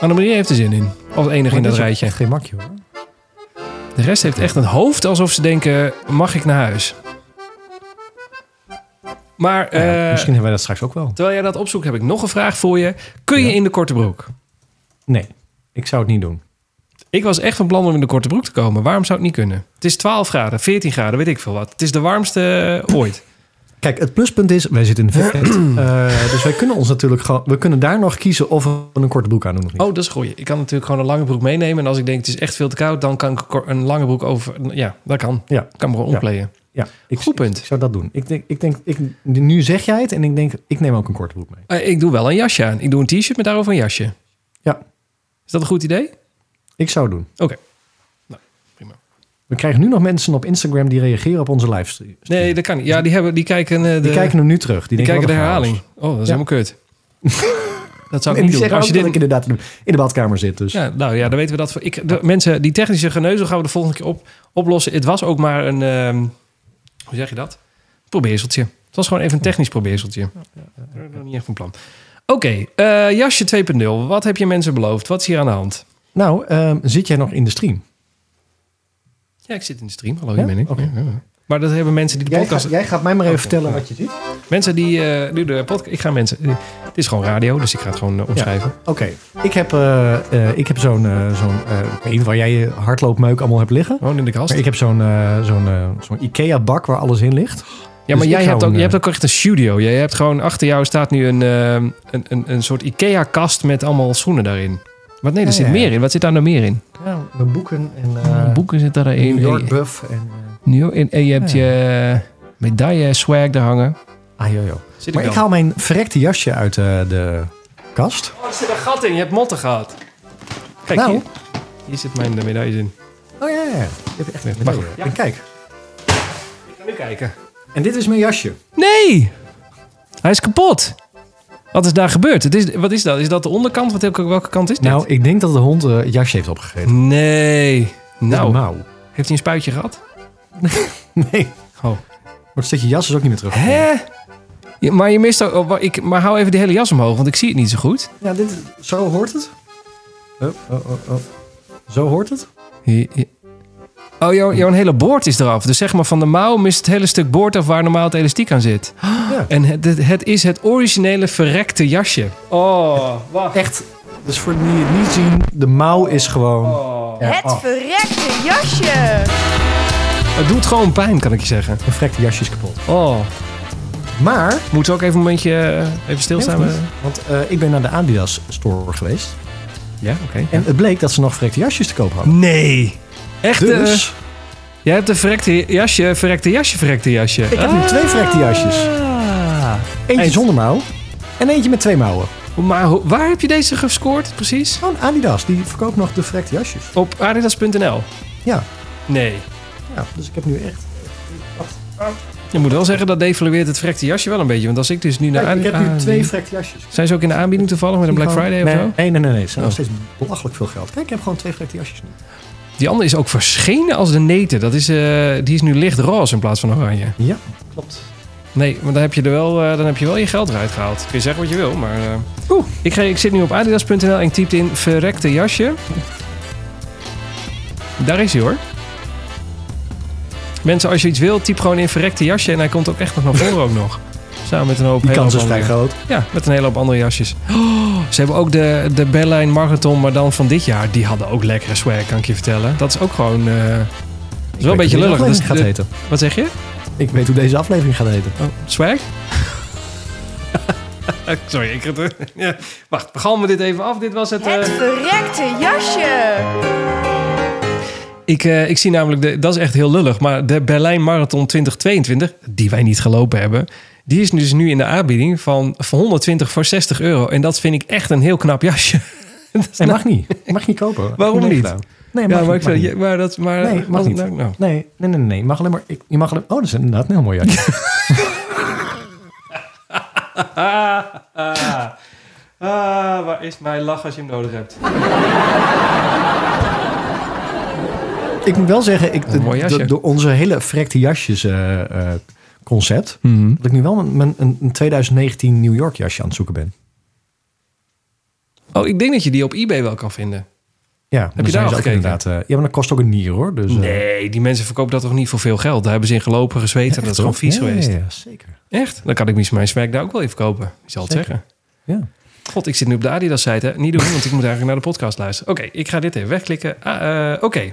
Annemarie heeft er zin in. Als enige Maar in dit dat is ook rijtje. echt geen makje hoor. De rest heeft echt een hoofd alsof ze denken, mag ik naar huis? Maar Nou ja, eh, misschien hebben wij dat straks ook wel. terwijl jij dat opzoekt, heb ik nog een vraag voor je. Kun je Ja. in de korte broek? Nee, ik zou het niet doen. Ik was echt van plan om in de korte broek te komen. Waarom zou het niet kunnen? Het is 12 graden, 14 graden, weet ik veel wat. Het is de warmste eh, ooit. Kijk, het pluspunt is, wij zitten in *clears throat* de vet. Eh, dus wij kunnen ons natuurlijk gewoon, we kunnen daar nog kiezen of we een korte broek aan doen of niet. Oh, dat is goed. Ik kan natuurlijk gewoon een lange broek meenemen. En als ik denk, het is echt veel te koud, dan kan ik een kor- een lange broek over... Ja, dat kan. Ja. Ik kan me gewoon Ja. omkleden. ja, ik, Goed punt. Ik zou dat doen. Ik denk, ik denk ik, nu zeg jij het en ik denk, ik neem ook een korte broek mee. Eh, ik doe wel een jasje aan. Ik doe een t-shirt met daarover een jasje. Ja. Is dat een goed idee? Ik zou het doen. Oké. Nou, prima. We krijgen nu nog mensen op Instagram die reageren op onze livestream. Nee, dat kan niet. Ja, die, hebben, die kijken, eh, de, die kijken hem nu terug. Die, die denken, kijken de wat een verhaal is. herhaling. Oh, dat is Ja. helemaal *laughs* kut. dat zou ik En niet doen. die zeggen Als je ook dat ik dit, inderdaad in de badkamer zit. Dus. ja, nou ja, dan weten we dat. voor- Ik, de, mensen, die technische geneuzel gaan we de volgende keer op, oplossen. Het was ook maar een, ehm, hoe zeg je dat? Probeerseltje. Het was gewoon even een technisch probeerseltje. Dat is nog niet echt van plan. Oké, eh, jasje 2.0. Wat heb je mensen beloofd? Wat is hier aan de hand? Nou, ehm, zit jij nog in de stream? Ja, ik zit in de stream. Hallo, Ja? hier ben ik. Oké. Ja, ja. Maar dat hebben mensen die de Jij, podcast... gaat- jij gaat mij maar even vertellen wat je ziet. Mensen die eh, nu de podcast... Ik ga mensen... eh, het is gewoon radio, dus ik ga het gewoon eh, omschrijven. Oké, ik heb, eh, eh, ik heb zo'n, eh, zo'n eh, ik weet niet waar jij je hardloopmeuk allemaal hebt liggen. Gewoon in de kast. Maar ik heb zo'n, eh, zo'n, eh, zo'n Ikea-bak waar alles in ligt. ja, maar dus jij ik zou hebt, ook, een, jij hebt eh, ook echt een studio. Jij hebt gewoon achter jou staat nu een, eh, een, een, een soort IKEA-kast met allemaal schoenen daarin. Wat nee, er Ja, zit Ah, ja. meer in. Wat zit daar nou meer in? Ja, mijn boeken en eh Boeken zit daar New York in. Eh, Buff en eh, New York- en, en je hebt Ja. je medaille swag daar hangen. ah jojo. Zit ik Maar ik dan? haal mijn verrekte jasje uit eh, de kast. Oh, er zit een gat in. Je hebt motten gehad. Kijk, Nou. hier, hier zit mijn eh, medaille in. Oh ja, ja, ja. Ik heb echt Wacht. een En kijk, Ik ga nu kijken. en dit is mijn jasje. Nee! Hij is kapot. Wat is daar gebeurd? Het is, wat is dat? Is dat de onderkant? Wat, welke kant is dit? Nou, ik denk dat de hond eh, het jasje heeft opgegeten. Nee. Nou, nou. heeft hij een spuitje gehad? *laughs* Nee. Oh. Maar het stukje jas is ook niet meer terug. Hè? Ja, maar je mist ook... oh, wa- ik, maar hou even die hele jas omhoog, want ik zie het niet zo goed. Ja, dit, is- zo hoort het. Oh, oh, oh, oh. Zo hoort het. Je- je- Oh, jouw, jouw hele boord is eraf. Dus zeg maar van de mouw mist het hele stuk boord af waar normaal het elastiek aan zit. *gasps* Ja. En het, het, het is het originele verrekte jasje. Oh, wacht. Echt. Dus voor die het niet zien, de mouw is gewoon... Oh. Ja, Het oh, verrekte jasje. Het doet gewoon pijn, kan ik je zeggen. Een verrekte jasje is kapot. Oh. Maar... Moeten we ook even een momentje eh, even stilstaan? Nee, hoeft niet. Want eh, ik ben naar de Adidas store geweest. Ja, oké. En het bleek dat ze nog verrekte jasjes te koop hadden. Nee. Echt? eh, Dus jij hebt een verrekte jasje, verrekte jasje, verrekte jasje. ik heb nu twee verrekte jasjes. Ah. Eentje Eens. zonder mouw. En eentje met twee mouwen. Maar ho- waar heb je deze gescoord precies? Gewoon Oh, Adidas, die verkoopt nog de verrekte jasjes. Op adidas.nl? Ja. Nee. ja, dus ik heb nu echt... Je moet wel zeggen, dat devalueert het verrekte jasje wel een beetje. Want als ik dus nu naar... Kijk, ik heb Adi- nu twee verrekte jasjes. Zijn ze ook in de aanbieding toevallig met een Black Friday of nee, zo? Nee, nee, nee. nee. Ze zijn nog Oh. steeds belachelijk veel geld. Kijk, ik heb gewoon twee verrekte jasjes nu. Die andere is ook verschenen als de neten. Dat is, eh, die is nu licht roze in plaats van oranje. Ja, klopt. Nee, maar dan heb je er wel, eh, dan heb je, wel je geld eruit gehaald. Kun je zeggen wat je wil, maar... eh, Oeh. Ik, ga- ik zit nu op adidas.nl en ik typte in verrekte jasje. Daar is hij hoor. Mensen, als je iets wilt, typ gewoon in verrekte jasje. En hij komt ook echt nog naar voren ook *laughs* nog. Samen met een hoop Die hele kans hoop is vrij andere- groot. Ja, met een hele hoop andere jasjes. Oh, ze hebben ook de, de Berlijn Marathon, maar dan van dit jaar. Die hadden ook lekkere swag, kan ik je vertellen. Dat is ook gewoon... eh, dat is wel een beetje lullig. Hoe Dat is deze aflevering gaat de- heten. Wat zeg je? Ik weet hoe deze aflevering gaat heten. Oh, swag? *laughs* Sorry, ik ga het... *laughs* Ja. Wacht, we galmen dit even af. Dit was het... eh, Het verrekte jasje. Ik, eh, ik zie namelijk, de, dat is echt heel lullig, maar de Berlijn Marathon 2022, die wij niet gelopen hebben, die is dus nu in de aanbieding van van 120 voor 60 euro. En dat vind ik echt een heel knap jasje. Dat is Nee, nou- mag niet. Mag niet *laughs* kopen. Waarom Nee, niet? gedaan. Nee, mag ja, maar, ik niet, mag zei, niet. ja, maar dat, maar Nee, mag wat- niet. nou, nou. Nee, nee, nee, nee. Je mag alleen maar... Ik, je mag alleen, oh, dat is inderdaad een heel mooi jasje. Ah, waar is mijn lach als je hem nodig hebt? *laughs* ik moet wel zeggen, ik, Een mooi de- jasje. de- door onze hele frekte jasjes eh, eh, concept... Mhm. dat ik nu wel een, mijn- een, een 2019 New York jasje aan het zoeken ben. Oh, ik denk dat je die op eBay wel kan vinden. Ja, Heb je daar al gekeken? inderdaad. eh, ja, maar dat kost ook een nier hoor. Dus, eh, *laughs* Nee, die mensen verkopen dat toch niet voor veel geld? Daar hebben ze in gelopen, gezweten. dat is gewoon vies ja, geweest. Ja, ja, zeker. Echt? Dan kan ik misschien mijn smack daar ook wel even kopen. Ik zal het Zeker. zeggen. Ja. God, ik zit nu op de Adidas-site. hè? Niet doen, want ik moet eigenlijk naar de podcast luisteren. Oké, ik ga dit even wegklikken. Ah, eh, Oké.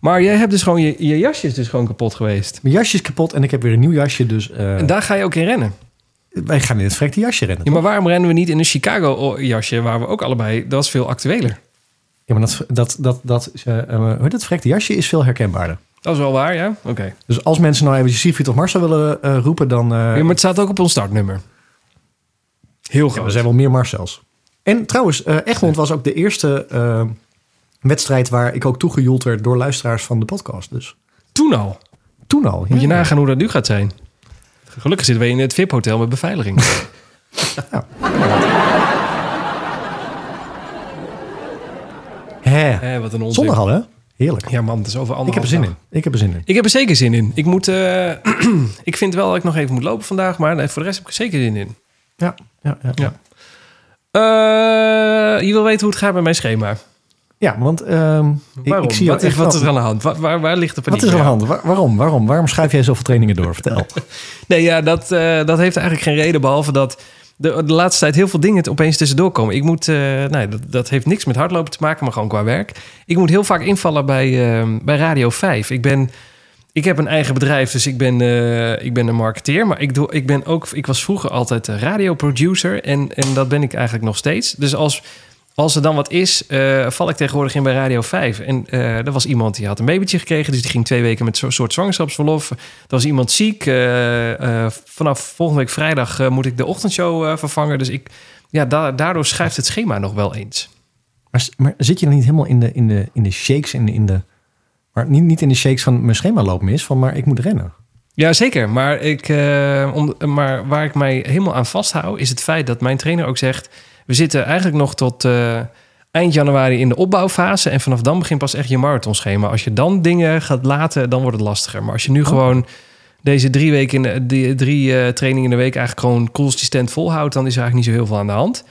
Maar jij hebt dus gewoon je, je jasje is dus gewoon kapot geweest. Mijn jasje is kapot en ik heb weer een nieuw jasje. Dus eh, En daar ga je ook in rennen. wij gaan in het frekte jasje rennen. Ja, maar waarom rennen we niet in een Chicago-jasje waar we ook allebei... Dat is veel actueler. Ja, maar dat, dat, dat, dat, is, eh, eh, hoe heet het frekte jasje is veel herkenbaarder. Dat is wel waar, ja? Oké. Dus als mensen nou even Siegfried of Marcel willen eh, roepen, dan... eh, Ja, maar het staat ook op ons startnummer. Heel ja, groot. er zijn wel meer Marcels. En trouwens, eh Egmond was ook de eerste eh, wedstrijd waar ik ook toegejoeld werd door luisteraars van de podcast. Dus Toen al. toen al. Moet je ja. nagaan hoe dat nu gaat zijn. Gelukkig zitten we in het VIP-hotel met beveiliging. Hè. Hé, Eh, wat een onzin. Zondag al, hè? Heerlijk. Ja man, dat is over anderhalf Ik heb er zin dag. in. Ik heb er zin in. Ik heb er zeker zin in. Ik, moet, eh, *clears throat* ik vind wel dat ik nog even moet lopen vandaag, maar nee, voor de rest heb ik er zeker zin in. Ja, ja, ja. Ja. ja. Eh, je wil weten hoe het gaat met mijn schema. Ja, want ehm, ik, Waarom? ik zie jou wat, is, echt wat wel- is er aan de hand? Waar, waar, waar ligt de Wat paniek? is er aan de Ja. hand? Wa- waarom? Waarom? Waarom schrijf jij zoveel trainingen door? *laughs* Vertel. Nee, ja, dat, eh, dat heeft eigenlijk geen reden. Behalve dat de, de laatste tijd heel veel dingen opeens tussendoor komen. Ik moet, eh, nee, dat, dat heeft niks met hardlopen te maken, maar gewoon qua werk. Ik moet heel vaak invallen bij, eh, bij Radio 5. Ik ben. Ik heb een eigen bedrijf, dus ik ben, eh, ik ben een marketeer. Maar ik, doe, ik, ben ook, ik was vroeger altijd eh, radioproducer. En, en dat ben ik eigenlijk nog steeds. Dus als, als er dan wat is, eh, val ik tegenwoordig in bij Radio 5. En eh, er was iemand die had een babytje gekregen. Dus die ging twee weken met zo'n soort zwangerschapsverlof. Er was iemand ziek. eh, eh, vanaf volgende week vrijdag eh, moet ik de ochtendshow eh, vervangen. Dus ik, ja, da- daardoor schuift het schema nog wel eens. Maar, s- maar zit je dan niet helemaal in de, in de, in de shakes? In de, in de, maar niet, niet in de shakes van mijn schema loopt mis, van maar ik moet rennen. Ja, zeker. Maar, ik, eh, om, maar waar ik mij helemaal aan vasthoud... is het feit dat mijn trainer ook zegt... we zitten eigenlijk nog tot eh, eind januari in de opbouwfase... en vanaf dan begint pas echt je marathonschema. Als je dan dingen gaat laten, dan wordt het lastiger. Maar als je nu gewoon deze drie, weken in de, die, drie eh, trainingen in de week... eigenlijk gewoon consistent volhoudt... dan is er eigenlijk niet zo heel veel aan de hand.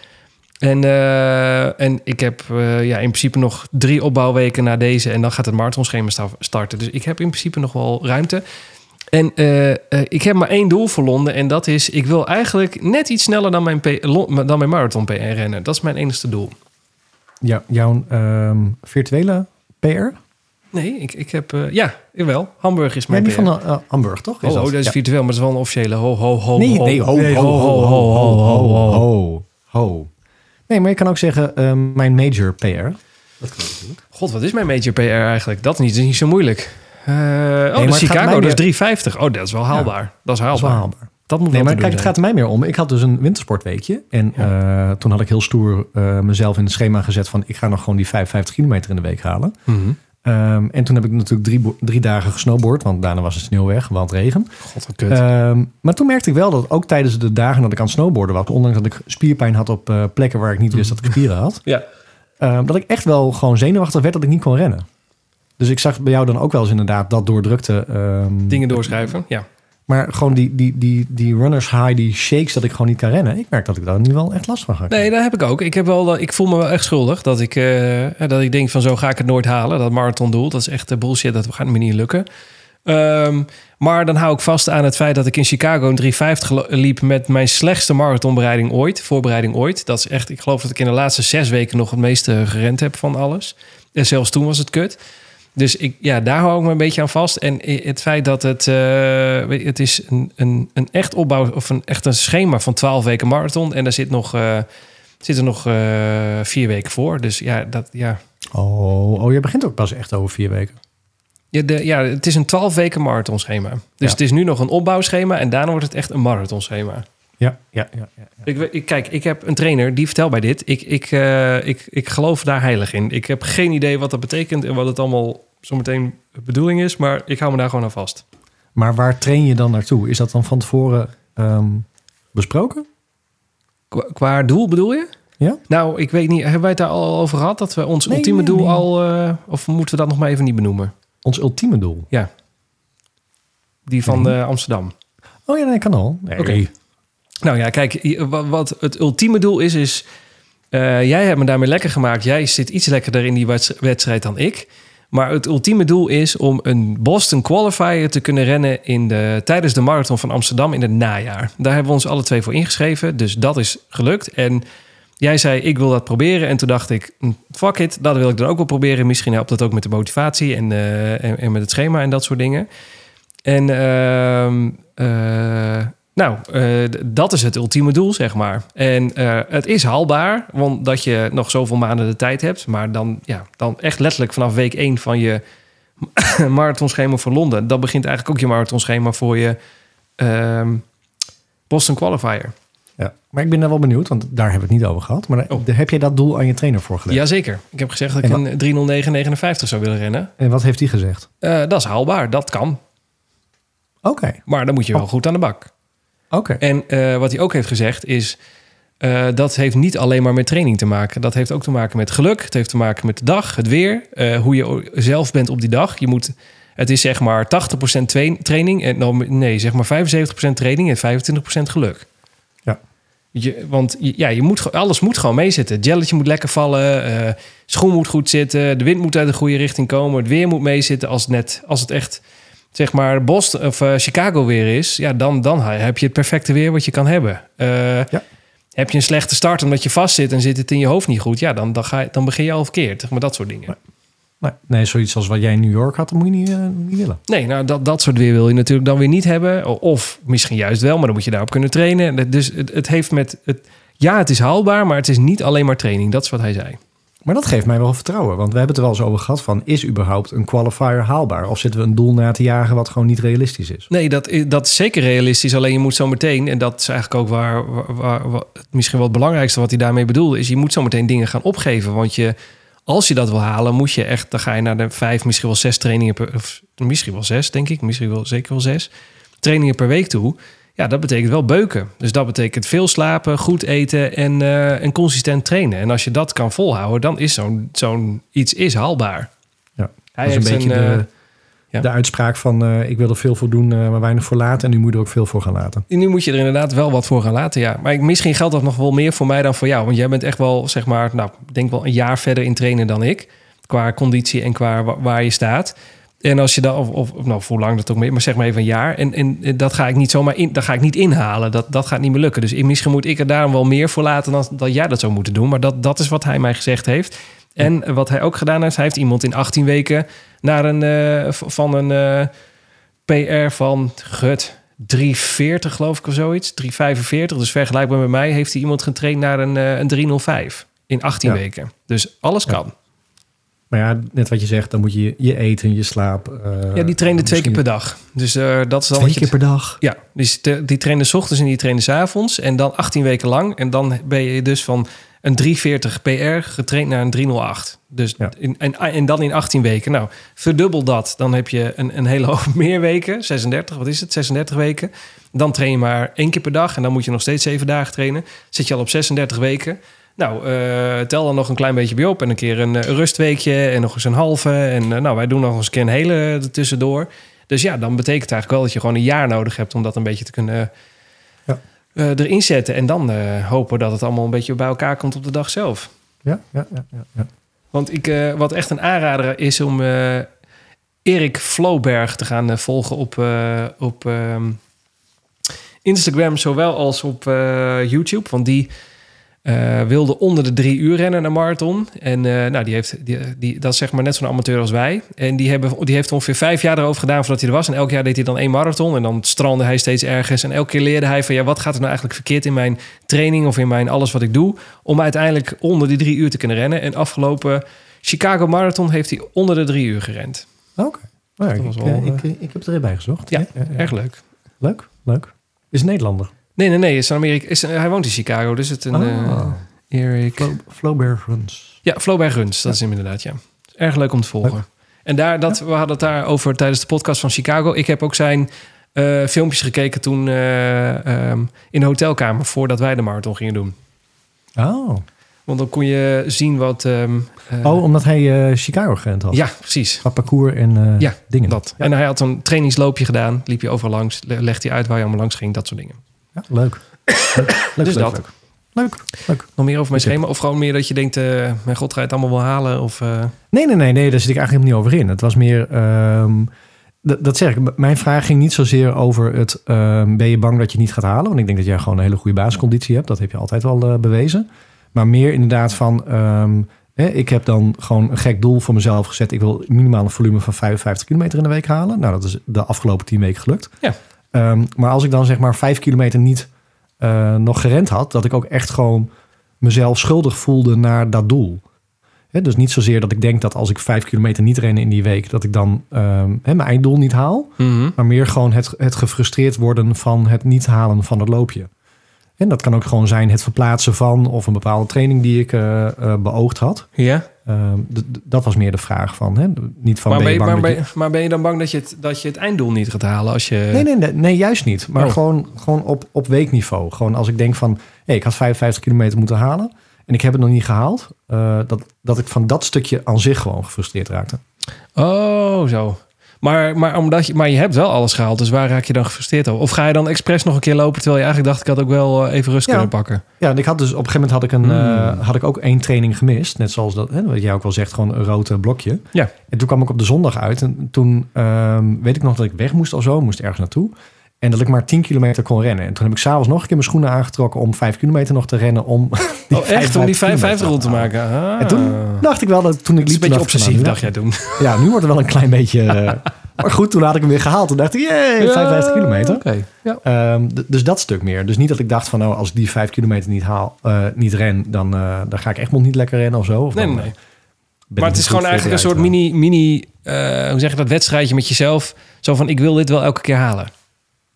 En, eh, en ik heb eh, ja, in principe nog drie opbouwweken na deze... en dan gaat het marathonschema sta- starten. Dus ik heb in principe nog wel ruimte... En eh, eh, ik heb maar één doel voor Londen. En dat is, ik wil eigenlijk net iets sneller dan mijn, P- Lo- dan mijn marathon PR rennen. Dat is mijn enigste doel. Ja, jouw ehm, virtuele PR? Nee, ik, ik heb... eh, ja, jawel. Hamburg is Maar mijn die PR. van eh, eh, Hamburg, toch? oh, oh, dat is Ja. virtueel, maar dat is wel een officiële ho, ho, ho, Nee, ho. nee, ho, ho, oh, ho, ho, ho, ho, ho, ho. Nee, maar je kan ook zeggen eh, mijn major PR. God, wat is mijn major PR eigenlijk? Dat niet, dat is niet zo moeilijk. Eh, oh, maar dat is het gaat mij Chicago, meer- dat is 3,50. Oh, dat is wel haalbaar. Dat is haalbaar. Dat, Dat is wel haalbaar. moet Nee, wel maar te kijk, het doen gaat er mij meer om. Ik had dus een wintersportweekje. En eh, toen had ik heel stoer eh, mezelf in het schema gezet van... ik ga nog gewoon die 55 kilometer in de week halen. zijn. Mhm. Ehm, en toen heb ik natuurlijk drie, bo- drie dagen gesnowboard, want daarna was het sneeuw weg, want regen. God, wat kut. Ehm, maar toen merkte ik wel dat ook tijdens de dagen dat ik aan het snowboarden was, ondanks dat ik spierpijn had op eh, plekken waar ik niet wist dat ik spieren had, ja. ehm, dat ik echt wel gewoon zenuwachtig werd dat ik niet kon rennen. Dus ik zag bij jou dan ook wel eens inderdaad dat door drukte. ehm, Dingen doorschrijven, ja. Maar gewoon die, die, die, die runners high, die shakes dat ik gewoon niet kan rennen. Ik merk dat ik daar nu wel echt last van ga Nee, dat heb ik ook. Ik, heb wel, eh, ik voel me wel echt schuldig dat ik, eh, dat ik denk van zo ga ik het nooit halen. Dat marathondoel, dat is echt eh, bullshit. Dat gaat me niet lukken. Ehm, maar dan hou ik vast aan het feit dat ik in Chicago een 350 gelo- liep met mijn slechtste marathonbereiding ooit. Voorbereiding ooit. Dat is echt, ik geloof dat ik in de laatste zes weken nog het meeste gerend heb van alles. En zelfs toen was het kut. Dus ik, ja, daar hou ik me een beetje aan vast. En i- het feit dat het, eh, weet je, het is een, een, een echt opbouw of een echt een schema van 12 weken marathon. En daar zit nog, eh zitten nog eh, vier weken voor. Dus ja, dat, ja. Oh, oh, je begint ook pas echt over vier weken. Ja, de, ja, het is een 12 weken marathon schema. Dus Ja. het is nu nog een opbouwschema en daarna wordt het echt een marathon schema. Ja, ja, ja. ja. Ik, we- ik, kijk, ik heb een trainer die vertelt bij dit. Ik, ik, eh, ik, ik geloof daar heilig in. Ik heb geen idee wat dat betekent en wat het allemaal zometeen de bedoeling is. Maar ik hou me daar gewoon aan vast. Maar waar train je dan naartoe? Is dat dan van tevoren ehm, besproken? Qua, qua doel bedoel je? Ja. Nou, ik weet niet. Hebben wij het daar al over gehad? Dat we ons Nee, ultieme nee, doel nee. al... eh, of moeten we dat nog maar even niet benoemen? Ons ultieme doel. Die van Nee. eh, Amsterdam. Oh ja, nee, kan al. Nee. Oké. Nou ja, kijk, i- wa- wat het ultieme doel is, is... eh, jij hebt me daarmee lekker gemaakt. Jij zit iets lekkerder in die wets- wedstrijd dan ik. Maar het ultieme doel is om een Boston Qualifier te kunnen rennen... In de, tijdens de Marathon van Amsterdam in het najaar. Daar hebben we ons alle twee voor ingeschreven. Dus dat is gelukt. En jij zei, ik wil dat proberen. En toen dacht ik, mm, fuck it, dat wil ik dan ook wel proberen. Misschien helpt dat ook met de motivatie en, eh, en, en met het schema en dat soort dingen. En ehm, eh, nou, eh, d- dat is het ultieme doel, zeg maar. En eh, het is haalbaar, want dat je nog zoveel maanden de tijd hebt. Maar dan, ja, dan echt letterlijk vanaf week 1 van je *coughs* marathonschema voor Londen. Dat begint eigenlijk ook je marathonschema voor je ehm, Boston Qualifier. Ja. Maar ik ben daar wel benieuwd, want daar hebben we het niet over gehad. Maar Oh. daar- heb jij dat doel aan je trainer voorgelegd? Jazeker. Ik heb gezegd dat ik En een 309,59 zou willen rennen. En wat heeft hij gezegd? Eh, dat is haalbaar, dat kan. Oké, Maar dan moet je wel goed aan de bak. oké. En eh, wat hij ook heeft gezegd is... eh, dat heeft niet alleen maar met training te maken. Dat heeft ook te maken met geluk. Het heeft te maken met de dag, het weer. eh, hoe je o- zelf bent op die dag. Je moet, het is zeg maar 80% twa- training. En, nou, nee, zeg maar 75% training en 25% geluk. Ja. Je, want je- ja, je moet, ge- alles moet gewoon meezitten. Het gelletje moet lekker vallen. eh, schoen moet goed zitten. De wind moet uit de goede richting komen. Het weer moet meezitten. Als het, net, als het echt zeg maar Boston of eh, Chicago weer is, ja, dan, dan heb je het perfecte weer wat je kan hebben. Eh, Ja. Heb je een slechte start omdat je vast zit en zit het in je hoofd niet goed, ja, dan, dan, ga je, dan begin je al verkeerd. Zeg maar dat soort dingen. Nou, nee, zoiets als wat jij in New York had, dat moet je niet, eh, niet willen. Nee, nou, dat, dat soort weer wil je natuurlijk dan weer niet hebben. O- Of misschien juist wel, maar dan moet je daarop kunnen trainen. Dat- Dus het, het heeft met het. Ja, het is haalbaar, maar het is niet alleen maar training. Dat is wat hij zei. Maar dat geeft mij wel vertrouwen, want we hebben het er wel eens over gehad van... is überhaupt een qualifier haalbaar? Of zitten we een doel na te jagen wat gewoon niet realistisch is? Nee, dat, i- dat is zeker realistisch. Alleen je moet zo meteen, en dat is eigenlijk ook waar, waar, waar- wa- misschien wel het belangrijkste wat hij daarmee bedoelde, is je moet zo meteen dingen gaan opgeven. Want je, als je dat wil halen, moet je echt, dan ga je naar de vijf, misschien wel zes trainingen per, of misschien wel zes, denk ik, misschien wel zeker wel zes trainingen per week toe. Ja, dat betekent wel beuken. Dus dat betekent veel slapen, goed eten en, eh, en consistent trainen. En als je dat kan volhouden, dan is zo'n zo'n iets is haalbaar. Ja, Hij dat is een heeft beetje een, eh, de, ja. de uitspraak van... eh, ik wil er veel voor doen, eh, maar weinig voor laten. En nu moet je er ook veel voor gaan laten. Nu moet je er inderdaad wel wat voor gaan laten, ja. Maar ik, misschien geldt dat nog wel meer voor mij dan voor jou. Want jij bent echt wel, zeg maar, nou, ik denk wel een jaar verder in trainen dan ik. Qua conditie en qua wa- waar je staat. En als je dan, of, of of nou, of hoe lang dat ook meer, maar zeg maar even een jaar. En, en eh, dat ga ik niet zomaar in, dat ga ik niet inhalen. Dat, dat gaat niet meer lukken. Dus ik- misschien moet ik er daarom wel meer voor laten dan dat jij dat zou moeten doen. Maar dat, dat is wat hij mij gezegd heeft. En eh, wat hij ook gedaan heeft, hij heeft iemand in 18 weken naar een, eh, v- van een eh, PR van, gut, 340 geloof ik of zoiets. 345. Dus vergelijkbaar met mij heeft hij iemand getraind naar een, eh, een 305 in 18 Ja. weken. Dus alles Ja. kan. Maar ja, net wat je zegt, dan moet je je eten, je slaap... eh, ja, die trainde twee keer misschien per dag. Dus eh, dat is dan Twee wat je keer per dag? Ja, dus de- die trainen 's ochtends en die trainen 's avonds. En dan 18 weken lang. En dan ben je dus van een 340 PR getraind naar een 308. Dus Ja. in, en, en dan in 18 weken. Nou, verdubbel dat. Dan heb je een, een hele hoop *laughs* meer weken. 36, wat is het? 36 weken. Dan train je maar één keer per dag. En dan moet je nog steeds zeven dagen trainen. Zit je al op 36 weken. Nou, eh, tel dan nog een klein beetje bij op. En een keer een eh, rustweekje. En nog eens een halve. En eh, nou, wij doen nog eens een keer een hele er tussendoor. Dus ja, dan betekent het eigenlijk wel dat je gewoon een jaar nodig hebt om dat een beetje te kunnen Ja. eh, erin zetten. En dan eh, hopen dat het allemaal een beetje bij elkaar komt op de dag zelf. Ja, ja, ja. ja, ja. Want ik, eh, wat echt een aanrader is om eh, Erik Floberg te gaan eh, volgen op, eh, op ehm, Instagram, zowel als op eh, YouTube. Want die eh, eh, wilde onder de drie uur rennen naar marathon. En eh, nou, die heeft, die, die, dat is zeg maar net zo'n amateur als wij. En die, hebben, die heeft ongeveer vijf jaar erover gedaan voordat hij er was. En elk jaar deed hij dan één marathon. En dan strandde hij steeds ergens. En elke keer leerde hij van ja, wat gaat er nou eigenlijk verkeerd in mijn training of in mijn alles wat ik doe. Om uiteindelijk onder die drie uur te kunnen rennen. En afgelopen Chicago Marathon heeft hij onder de drie uur gerend. Oké. Nou ja, Dat was ik, wel, eh, ik, ik heb het er even bij gezocht. Ja, Erg leuk. Leuk, leuk. Is een Nederlander. Nee, nee, nee. Is een Amerika is, een- hij woont in Chicago, dus het een Ah. eh, Erik. Flo, Flaubert Runs. Ja, Flowberg Runs, dat is hem inderdaad, ja. Erg leuk om te volgen. Leuk. En daar, dat, we hadden het daar over tijdens de podcast van Chicago. Ik heb ook zijn eh, filmpjes gekeken toen eh, ehm, in de hotelkamer... voordat wij de marathon gingen doen. Oh. Want dan kon je zien wat... ehm, eh, oh, omdat hij eh, Chicago gerend had. Ja, precies. Qua parcours en eh, Ja, dingen. Dat. En hij had een trainingsloopje gedaan. Liep je overal langs, le- legde hij uit waar je allemaal langs ging. Dat soort dingen. Ja, leuk. leuk, leuk, Dus leuk, dat. leuk. Leuk, leuk. Nog meer over mijn Ik heb- schema? Of gewoon meer dat je denkt... eh, mijn god, ga je het allemaal wel halen? Of, eh, Nee, nee, nee, nee, daar zit ik eigenlijk helemaal niet over in. Het was meer, ehm, d- dat zeg ik, M- mijn vraag ging niet zozeer over het, ehm, ben je bang dat je het niet gaat halen? Want ik denk dat jij gewoon een hele goede basisconditie hebt. Dat heb je altijd wel eh, bewezen. Maar meer inderdaad van, ehm, hè, ik heb dan gewoon een gek doel voor mezelf gezet. Ik wil minimaal een volume van 55 kilometer in de week halen. Nou, dat is de afgelopen 10 weken gelukt. Ja. Ehm, maar als ik dan zeg maar 5 kilometer niet eh, nog gerend had, dat ik ook echt gewoon mezelf schuldig voelde naar dat doel. Hè, dus niet zozeer dat ik denk dat als ik vijf kilometer niet ren in die week, dat ik dan ehm, hè, mijn einddoel niet haal. mhm. Maar meer gewoon het, het gefrustreerd worden van het niet halen van het loopje. En dat kan ook gewoon zijn het verplaatsen van of een bepaalde training die ik eh, eh, beoogd had. Ja? Ehm, d- d- dat was meer de vraag van, hè? niet van Maar ben, ben je, je bang maar, dat ben, je- je- maar ben je dan bang dat je het, dat je het einddoel niet gaat halen? Als je... Nee, nee, nee, nee, juist niet. Maar Oh. gewoon, gewoon op, op weekniveau. Gewoon als ik denk van, hé, ik had 55 kilometer moeten halen en ik heb het nog niet gehaald. eh, dat, dat ik van dat stukje aan zich gewoon gefrustreerd raakte. Oh, zo. Maar, maar, omdat je, maar je hebt wel alles gehaald, dus waar raak je dan gefrustreerd op? Of ga je dan expres nog een keer lopen, terwijl je eigenlijk dacht... ik had ook wel eh, even rust Ja. kunnen pakken? Ja, en ik had dus op een gegeven moment had ik, een, Hmm. eh, had ik ook één training gemist. Net zoals dat, hè, wat jij ook wel zegt, gewoon een rood eh, blokje. Ja. En toen kwam ik op de zondag uit. En toen ehm, weet ik nog dat ik weg moest of zo, moest ergens naartoe. En dat ik maar 10 kilometer kon rennen. En toen heb ik s'avonds nog een keer mijn schoenen aangetrokken om 5 kilometer nog te rennen. Om *laughs* die oh, echt? Om die 55 rond te kilometer maken? Ah. En toen dacht ik wel dat toen ik Het is liep... een toen beetje dacht ik obsessief, van, nou, dacht jij toen. nu- Ja, nu wordt het wel een klein beetje... eh, *laughs* maar goed, toen had ik hem weer gehaald. Toen dacht ik, jee, 55 kilometer. Oké. Ja. Ehm, d- dus dat stuk meer. Dus niet dat ik dacht van, nou, als ik die vijf kilometer niet haal, eh, niet ren, dan, eh, dan ga ik Egmond niet lekker rennen of zo. Of Nee, dan, nee, nee. eh, ben ik Maar het niet is goed gewoon voor eigenlijk een die soort uitdaging. mini, mini eh, hoe zeg je dat, wedstrijdje met jezelf. Zo van, ik wil dit wel elke keer halen.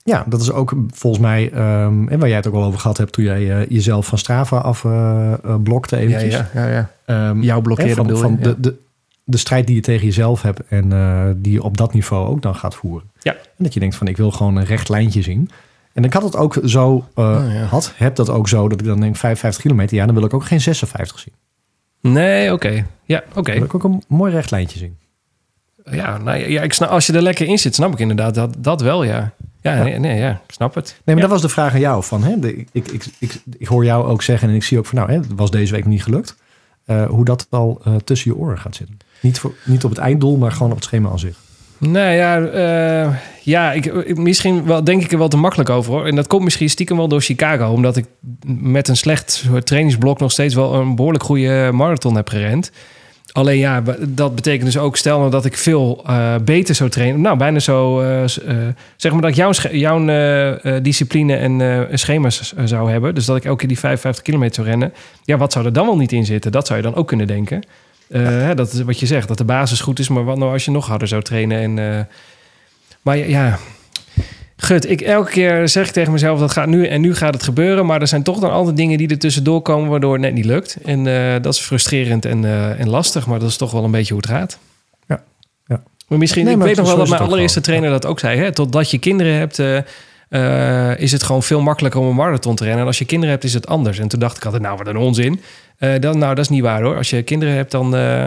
Ja, dat is ook volgens mij, ehm, en waar jij het ook al over gehad hebt, toen jij eh, jezelf van Strava afblokte eh blokte eventjes. ja, ja. Ehm, Jou blokkeren hè, van, bedoel je, van ja. de, de, de strijd die je tegen jezelf hebt en eh, die je op dat niveau ook dan gaat voeren. Ja. En dat je denkt van ik wil gewoon een recht lijntje zien. En ik had het ook zo, eh, Oh, ja. had, heb dat ook zo, dat ik dan denk 55 kilometer, ja dan wil ik ook geen 56 zien. Nee, oké. Ja, oké. Dan wil ik ook een mooi recht lijntje zien. Ja, nou, ja, ik snap, als je er lekker in zit, snap ik inderdaad dat, dat wel, ja. Ja, Nee, nee, ja, ik snap het. Nee, maar dat was de vraag aan jou. Van, hè, de, ik, ik, ik, ik, ik hoor jou ook zeggen en ik zie ook van nou, hè, het was deze week niet gelukt. eh, hoe dat al eh, tussen je oren gaat zitten. Niet, voor, niet op het einddoel, maar gewoon op het schema aan zich. Nou ja, eh, ja ik, ik- misschien wel, denk ik er wel te makkelijk over hoor. En dat komt misschien stiekem wel door Chicago. Omdat ik met een slecht trainingsblok nog steeds wel een behoorlijk goede marathon heb gerend. Alleen ja, b- dat betekent dus ook, stel nou dat ik veel eh, beter zou trainen. Nou, bijna zo, eh, s- eh, zeg maar dat ik jouw, sch- jouw eh, eh, discipline en eh, schema's eh, zou hebben. Dus dat ik elke keer die 55 kilometer zou rennen. Ja, wat zou er dan wel niet in zitten? Dat zou je dan ook kunnen denken. Eh, hè, Dat is wat je zegt, dat de basis goed is. Maar wat nou als je nog harder zou trainen? En, eh, maar ja, ja, gut. Ik, elke keer zeg ik tegen mezelf, dat gaat nu en nu gaat het gebeuren. Maar er zijn toch dan altijd dingen die er tussendoor komen... waardoor het net niet lukt. En eh, dat is frustrerend en, eh, en lastig. Maar dat is toch wel een beetje hoe het gaat. Ja, ja. Maar misschien, Nee, ik maar weet nog zo wel is dat het mijn ook allereerste gewoon. trainer dat ook zei. Hè? Totdat je kinderen hebt... eh, eh, is het gewoon veel makkelijker om een marathon te rennen. En als je kinderen hebt, is het anders. En toen dacht ik altijd, nou, wat een onzin. Eh, dan, nou, dat is niet waar hoor. Als je kinderen hebt, dan... eh,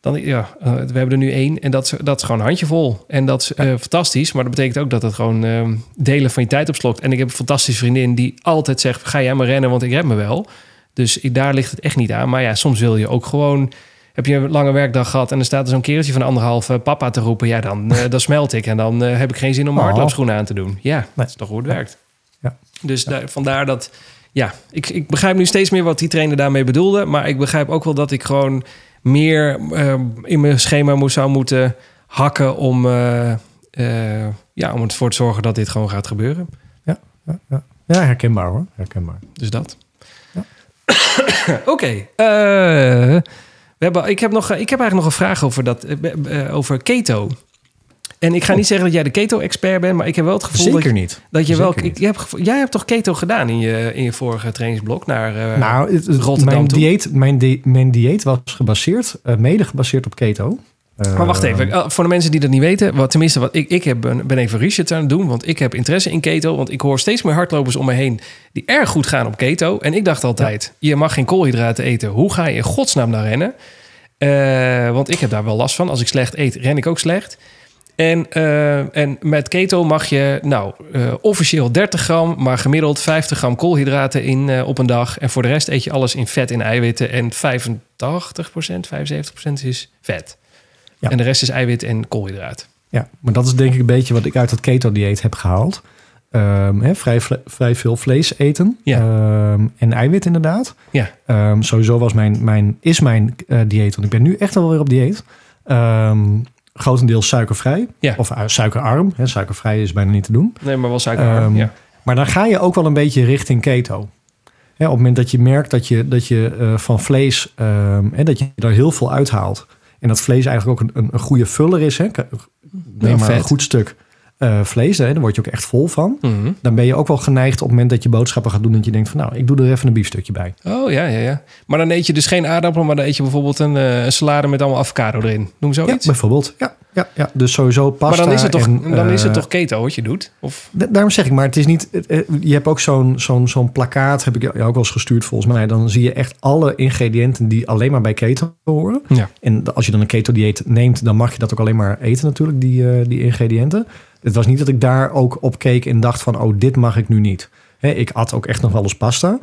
dan, ja, eh, we hebben er nu één en dat is, dat is gewoon een handjevol. En dat is eh, fantastisch, maar dat betekent ook dat het gewoon ehm, delen van je tijd opslokt. En ik heb een fantastische vriendin die altijd zegt, ga jij maar rennen, want ik red me wel. Dus ik, daar ligt het echt niet aan. Maar ja, soms wil je ook gewoon, heb je een lange werkdag gehad... en dan staat er zo'n kereltje van anderhalf eh, papa te roepen... ja, dan, eh, dan smelt ik en dan eh, heb ik geen zin om mijn Oh. hardloopschoenen aan te doen. Ja, Nee. dat is toch hoe het werkt. Ja. Dus daar- vandaar dat... ja, ik, ik begrijp nu steeds meer wat die trainer daarmee bedoelde. Maar ik begrijp ook wel dat ik gewoon meer eh, in mijn schema moest, zou moeten hakken om, eh, eh, ja, om ervoor te zorgen dat dit gewoon gaat gebeuren. Ja, ja. ja, herkenbaar hoor. Herkenbaar. Dus dat. Ja. *coughs* Oké. eh, we hebben, ik, heb nog, eh, ik heb eigenlijk nog een vraag over, dat, eh, be- eh, over keto. En ik ga niet zeggen dat jij de keto-expert bent, maar ik heb wel het gevoel dat je, niet. dat je wel. Oh. Zeker niet. ik- je hebt gevo- jij hebt toch keto gedaan in je, in je vorige trainingsblok naar eh, nou, het- het- Rotterdam mijn, toe. dieet, mijn, die- mijn dieet was gebaseerd, eh, mede gebaseerd op keto. Eh, Maar wacht even, eh, voor de mensen die dat niet weten, wat, tenminste, wat ik, ik heb, ben, ben even research aan het doen, want ik heb interesse in keto, want ik hoor steeds meer hardlopers om me heen die erg goed gaan op keto. En ik dacht altijd, je mag geen koolhydraten eten, hoe ga je in godsnaam naar rennen? Eh, want ik heb daar wel last van, als ik slecht eet, ren ik ook slecht. En, eh, en met keto mag je nou eh, officieel 30 gram, maar gemiddeld 50 gram koolhydraten in eh, op een dag. En voor de rest eet je alles in vet en eiwitten. En 85%, 75% is vet. Ja. En de rest is eiwit en koolhydraat. Ja, maar dat is denk ik een beetje wat ik uit dat keto-dieet heb gehaald. Ehm, hè, vrij, vle- vrij veel vlees eten Ja. Ehm, en eiwit inderdaad. Ja. Ehm, sowieso was mijn, mijn, is mijn eh, dieet, want ik ben nu echt alweer op dieet, ehm, grotendeels suikervrij. Ja. Of eh, suikerarm. Hè, suikervrij is bijna niet te doen. Nee, maar wel suikerarm. Ehm, ja. Maar dan ga je ook wel een beetje richting keto. Hè, op het moment dat je merkt dat je, dat je eh, van vlees, ehm, hè, dat je er heel veel uithaalt. En dat vlees eigenlijk ook een, een, een goede vuller is. Hè. K- Neem maar vet. een goed stuk eh, vlees, hè, daar word je ook echt vol van. Mhm. Dan ben je ook wel geneigd op het moment dat je boodschappen gaat doen... dat je denkt van nou, ik doe er even een biefstukje bij. Oh ja, ja, ja. Maar dan eet je dus geen aardappelen, maar dan eet je bijvoorbeeld een eh, een salade met allemaal avocado erin. Noem Ja, zoiets. bijvoorbeeld. Ja, ja, ja. Dus sowieso pasta Oh, maar dan is, het toch, en, dan is het eh, toch keto wat je doet? Of, Da- Daarom zeg ik, maar het is niet. het- eh, Je hebt ook zo'n zo'n zo'n plakkaat, heb ik jou ook wel eens gestuurd volgens mij. Dan zie je echt alle ingrediënten die alleen maar bij keto horen. ja. En da- als je dan een keto-dieet neemt, dan mag je dat ook alleen maar eten natuurlijk, die, eh, die ingrediënten. Het was niet dat ik daar ook op keek en dacht van, oh, dit mag ik nu niet. Hè, ik at ook echt nog wel eens pasta.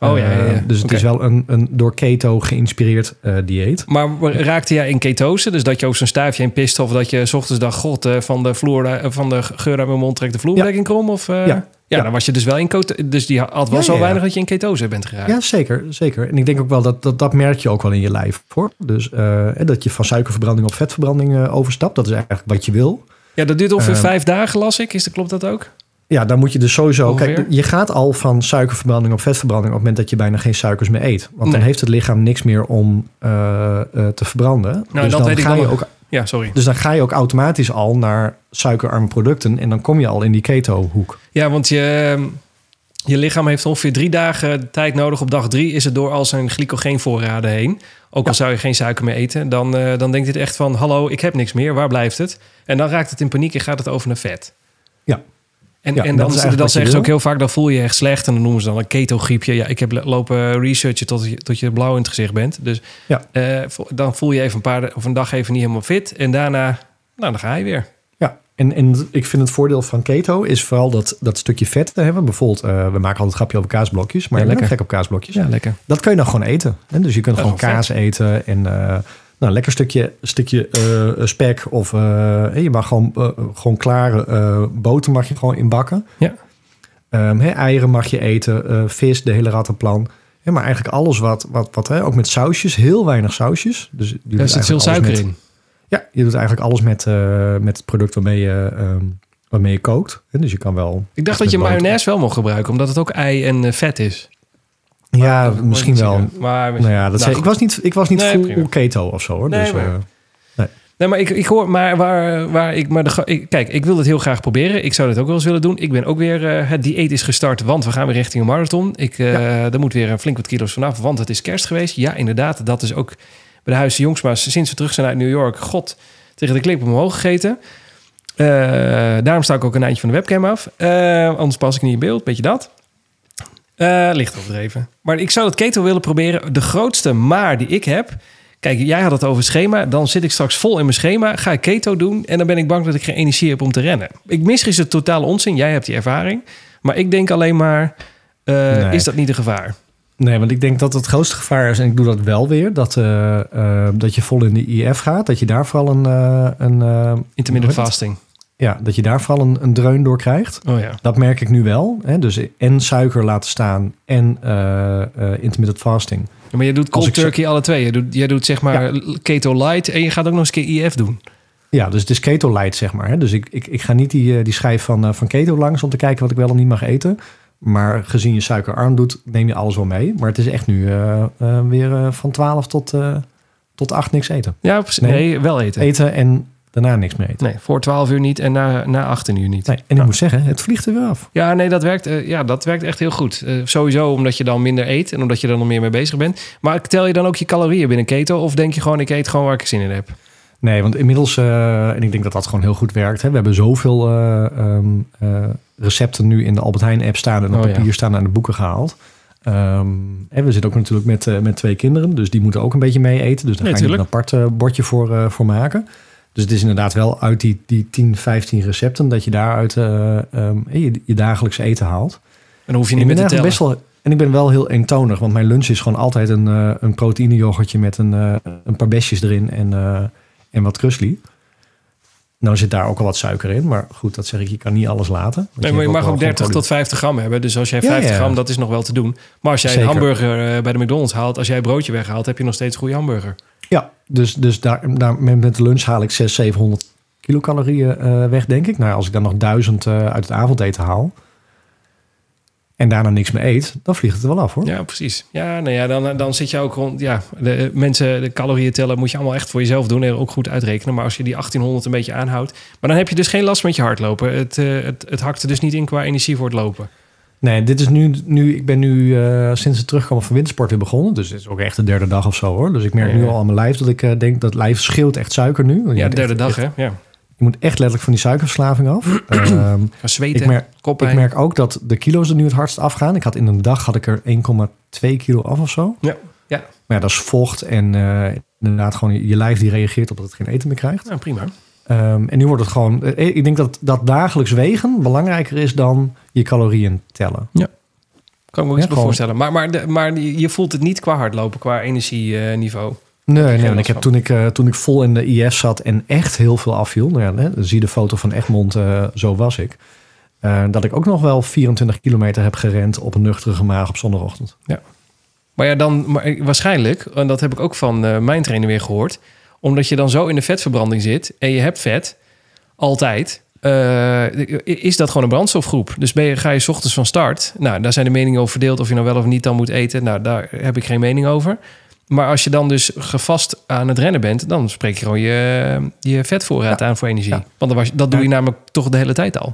Oh ja, ja, ja. Eh, dus het Oké. is wel een, een door keto geïnspireerd eh, dieet. Maar raakte jij in ketose? Dus dat je ook zo'n staafje in piste of dat je 's ochtends dacht... God, eh, van de, vloer, eh, van de geur uit mijn mond trekt de vloerbedekking krom? Of, eh, ja. Ja. Ja. dan was je dus wel in ketose. Dus die had wel Ja, zo ja, ja. weinig dat je in ketose bent geraakt. Ja, zeker, zeker. En ik denk ook wel dat dat, dat merk je ook wel in je lijf. Hoor. Dus eh, dat je van suikerverbranding op vetverbranding eh, overstapt. Dat is eigenlijk wat je wil. Ja, dat duurt ongeveer Ehm. vijf dagen, las ik. Is, dat- klopt dat ook? Ja, dan moet je dus sowieso... Kijk, Ongeveer. je gaat al van suikerverbranding op vetverbranding... op het moment dat je bijna geen suikers meer eet. Want Nee. dan heeft het lichaam niks meer om eh, eh, te verbranden. Nou, dat dus, dan weet ik ga wel je nog. ook, Ja, sorry. dus dan ga je ook automatisch al naar suikerarme producten. En dan kom je al in die keto-hoek. Ja, want je, ehm, je lichaam heeft ongeveer drie dagen de tijd nodig. Op dag drie is het door al zijn glycogeenvoorraden heen. Ook al zou je geen suiker meer eten, dan, eh, dan denkt het echt van... hallo, ik heb niks meer, waar blijft het? En dan raakt het in paniek en gaat het over naar vet. Ja. En, Ja, en dat dan, is dan, eigenlijk wat je zeggen ze ook wil. heel vaak, dan voel je je echt slecht. En dan noemen ze dan een ketogriepje. Ja, ik heb le- lopen researchen tot je, tot je blauw in het gezicht bent. Dus Ja. eh, vo- dan voel je even een, paar, of een dag even niet helemaal fit. En daarna, nou, dan ga je weer. Ja, en, en ik vind het voordeel van keto is vooral dat, dat stukje vet te hebben. Bijvoorbeeld, eh, we maken altijd een grapje over kaasblokjes, maar Ja, ik ben lekker. gek op kaasblokjes. lekker. Dat kun je dan gewoon eten. Hè? Dus je kunt Dat is gewoon wel kaas eten en eh, nou, een lekker stukje, stukje eh, spek. Of eh, hè, je mag gewoon, eh, gewoon klare eh, boter mag je gewoon inbakken. Ja. Ehm, hè, eieren mag je eten, eh, vis, de hele rattenplan. Ja, maar eigenlijk alles wat, wat, wat hè, ook met sausjes, heel weinig sausjes. Dus je doet Daar zit eigenlijk veel alles suiker in. met- ja, je doet eigenlijk alles met, eh, met het product waarmee je, ehm, waarmee je kookt. Hè, Dus je kan wel. Ik dacht Met dat je boter. mayonaise wel mocht gebruiken, omdat het ook ei en eh, vet is. ja, Dat moet ik Ah, misschien niet wel. zeggen. Maar, Nou ja, dat zei- goed. ik was niet, ik was niet Nee, full prima. keto of zo hoor. Nee, dus, maar- eh, Nee, maar ik, ik hoor, maar waar, waar ik, maar de, ga- ik, kijk, ik wil het heel graag proberen. Ik zou dat ook wel eens willen doen. Ik ben ook weer, eh, het dieet is gestart, want we gaan weer richting een marathon. Ik, eh Er moet weer een flink wat kilo's vanaf, want het is kerst geweest. Ja, inderdaad, dat is ook bij de Huizen Jongs, maar sinds we terug zijn uit New York, god, tegen de klip omhoog gegeten. Eh, daarom sta ik ook een eindje van de webcam af. Eh, anders pas ik niet in beeld, beetje dat. Eh licht overdreven. Maar ik zou dat keto willen proberen. De grootste maar die ik heb. Kijk, jij had het over schema. Dan zit ik straks vol in mijn schema. Ga ik keto doen. En dan ben ik bang dat ik geen energie heb om te rennen. Ik, misschien is het totale onzin. Jij hebt die ervaring. Maar ik denk alleen maar. eh, Nee. Is dat niet een gevaar? nee, want ik denk dat het grootste gevaar is, en ik doe dat wel weer, dat, eh, eh, dat je vol in de IF gaat. Dat je daar vooral een, eh, een eh, Intermittent Hoe heet fasting. ja, dat je daar vooral een, een dreun door krijgt. Oh ja. Dat merk ik nu wel. Hè? Dus en suiker laten staan en eh, eh, intermittent fasting. Ja, Maar je doet cold ik zo- turkey alle twee. Je doet, je doet zeg maar keto light en je gaat ook nog eens een keer IF doen. Ja, dus het is keto light, zeg maar. Hè? Dus ik, ik, ik ga niet die, eh, die schijf van, eh, van keto langs om te kijken wat ik wel en niet mag eten. Maar gezien je suikerarm doet, neem je alles wel mee. Maar het is echt nu eh, eh, weer eh, van 12 tot, eh, tot 8 niks eten. Ja, precies. Nee, Nee. wel eten. Eten en daarna niks meer eten. Nee, voor 12 uur niet en na, na 18 uur niet. Nee, en ik moet zeggen, het vliegt er weer af. Ja, nee, dat werkt, eh, ja, dat werkt echt heel goed. Eh, sowieso omdat je dan minder eet en omdat je er nog meer mee bezig bent. Maar tel je dan ook je calorieën binnen keto? Of denk je gewoon, ik eet gewoon waar ik zin in heb? Nee, want inmiddels, eh, en ik denk dat dat gewoon heel goed werkt. Hè? We hebben zoveel eh, ehm, eh, recepten nu in de Albert Heijn app staan en op Oh, ja. papier staan en de boeken gehaald. Ehm, en we zitten ook natuurlijk met, eh, met twee kinderen, dus die moeten ook een beetje mee eten. Dus daar Nee, ga je een tuurlijk. apart eh, bordje voor, eh, voor maken. Dus het is inderdaad wel uit die, die 10, 15 recepten dat je daaruit eh, ehm, je, je dagelijkse eten haalt. En dan hoef je Ik niet ben meer te eigenlijk tellen. best wel, en ik ben wel heel eentonig, want mijn lunch is gewoon altijd een, eh een proteïne yoghurtje met een, eh, een paar besjes erin en, eh, en wat krusli. Nou zit daar ook al wat suiker in, maar goed, dat zeg ik, je kan niet alles laten. want Nee, maar je mag hebt wel ook gewoon 30 tot producten. 50 gram hebben. Dus als jij Ja, 50 ja. gram, dat is nog wel te doen. Maar als jij een Zeker. hamburger eh, bij de McDonald's haalt, als jij een broodje weghaalt, heb je nog steeds een goede hamburger. Ja, dus, dus daar, daar, met met de lunch haal ik 600, 700 kilocalorieën eh, weg, denk ik. Nou, ja, als ik dan nog 1000 eh, uit het avondeten haal en daarna niks meer eet, dan vliegt het er wel af hoor. Ja, precies. Ja, nou ja, dan, dan zit je ook rond. Ja, de, eh, mensen, de calorieën tellen moet je allemaal echt voor jezelf doen en ook goed uitrekenen. Maar als je die 1800 een beetje aanhoudt, maar dan heb je dus geen last met je hardlopen. Het, eh, het, het hakt er dus niet in qua energie voor het lopen. Nee, dit is nu, nu ik ben nu eh, sinds het terugkomen van wintersport weer begonnen. Dus het is ook echt de derde dag of zo hoor. Dus ik merk Ja, ja. nu al aan mijn lijf dat ik eh, denk dat lijf scheelt echt suiker nu. Want je Ja, moet derde dag, echt- hè? Ja. Je moet echt letterlijk van die *clears throat* suikerverslaving af. Ehm, Gaan ik, zweten, merk, koppijn. ik merk ook dat de kilo's er nu het hardst afgaan. Ik had in een dag had ik er 1,2 kilo af of zo. Ja, ja. Maar ja, dat is vocht en eh, inderdaad gewoon je- je lijf die reageert op dat het geen eten meer krijgt. Nou, prima. Ehm, en nu wordt het gewoon. eh, Ik denk dat, dat dagelijks wegen belangrijker is dan je calorieën tellen. Kan ik me ook Ja, iets bij gewoon. voorstellen. Maar, maar, de- maar je voelt het niet qua hardlopen, qua energieniveau. Nee, nee geen want ik last van. heb toen ik, eh, toen ik vol in de IF zat en echt heel veel afviel. Nou ja, hè, dan zie je de foto van Egmond, eh, zo was ik. eh, dat ik ook nog wel 24 kilometer heb gerend op een nuchtere maag op zondagochtend. Maar ja, dan maar eh, waarschijnlijk, en dat heb ik ook van eh, mijn trainer weer gehoord, omdat je dan zo in de vetverbranding zit en je hebt vet altijd, eh, is dat gewoon een brandstofgroep. Dus ben je, ga je 's ochtends van start. Nou, daar zijn de meningen over verdeeld of je nou wel of niet dan moet eten. Nou, daar heb ik geen mening over. Maar als je dan dus gevast aan het rennen bent, dan spreek je gewoon je, je vetvoorraad aan voor energie. Ja. Want dan was, dat doe Ja. je namelijk toch de hele tijd al.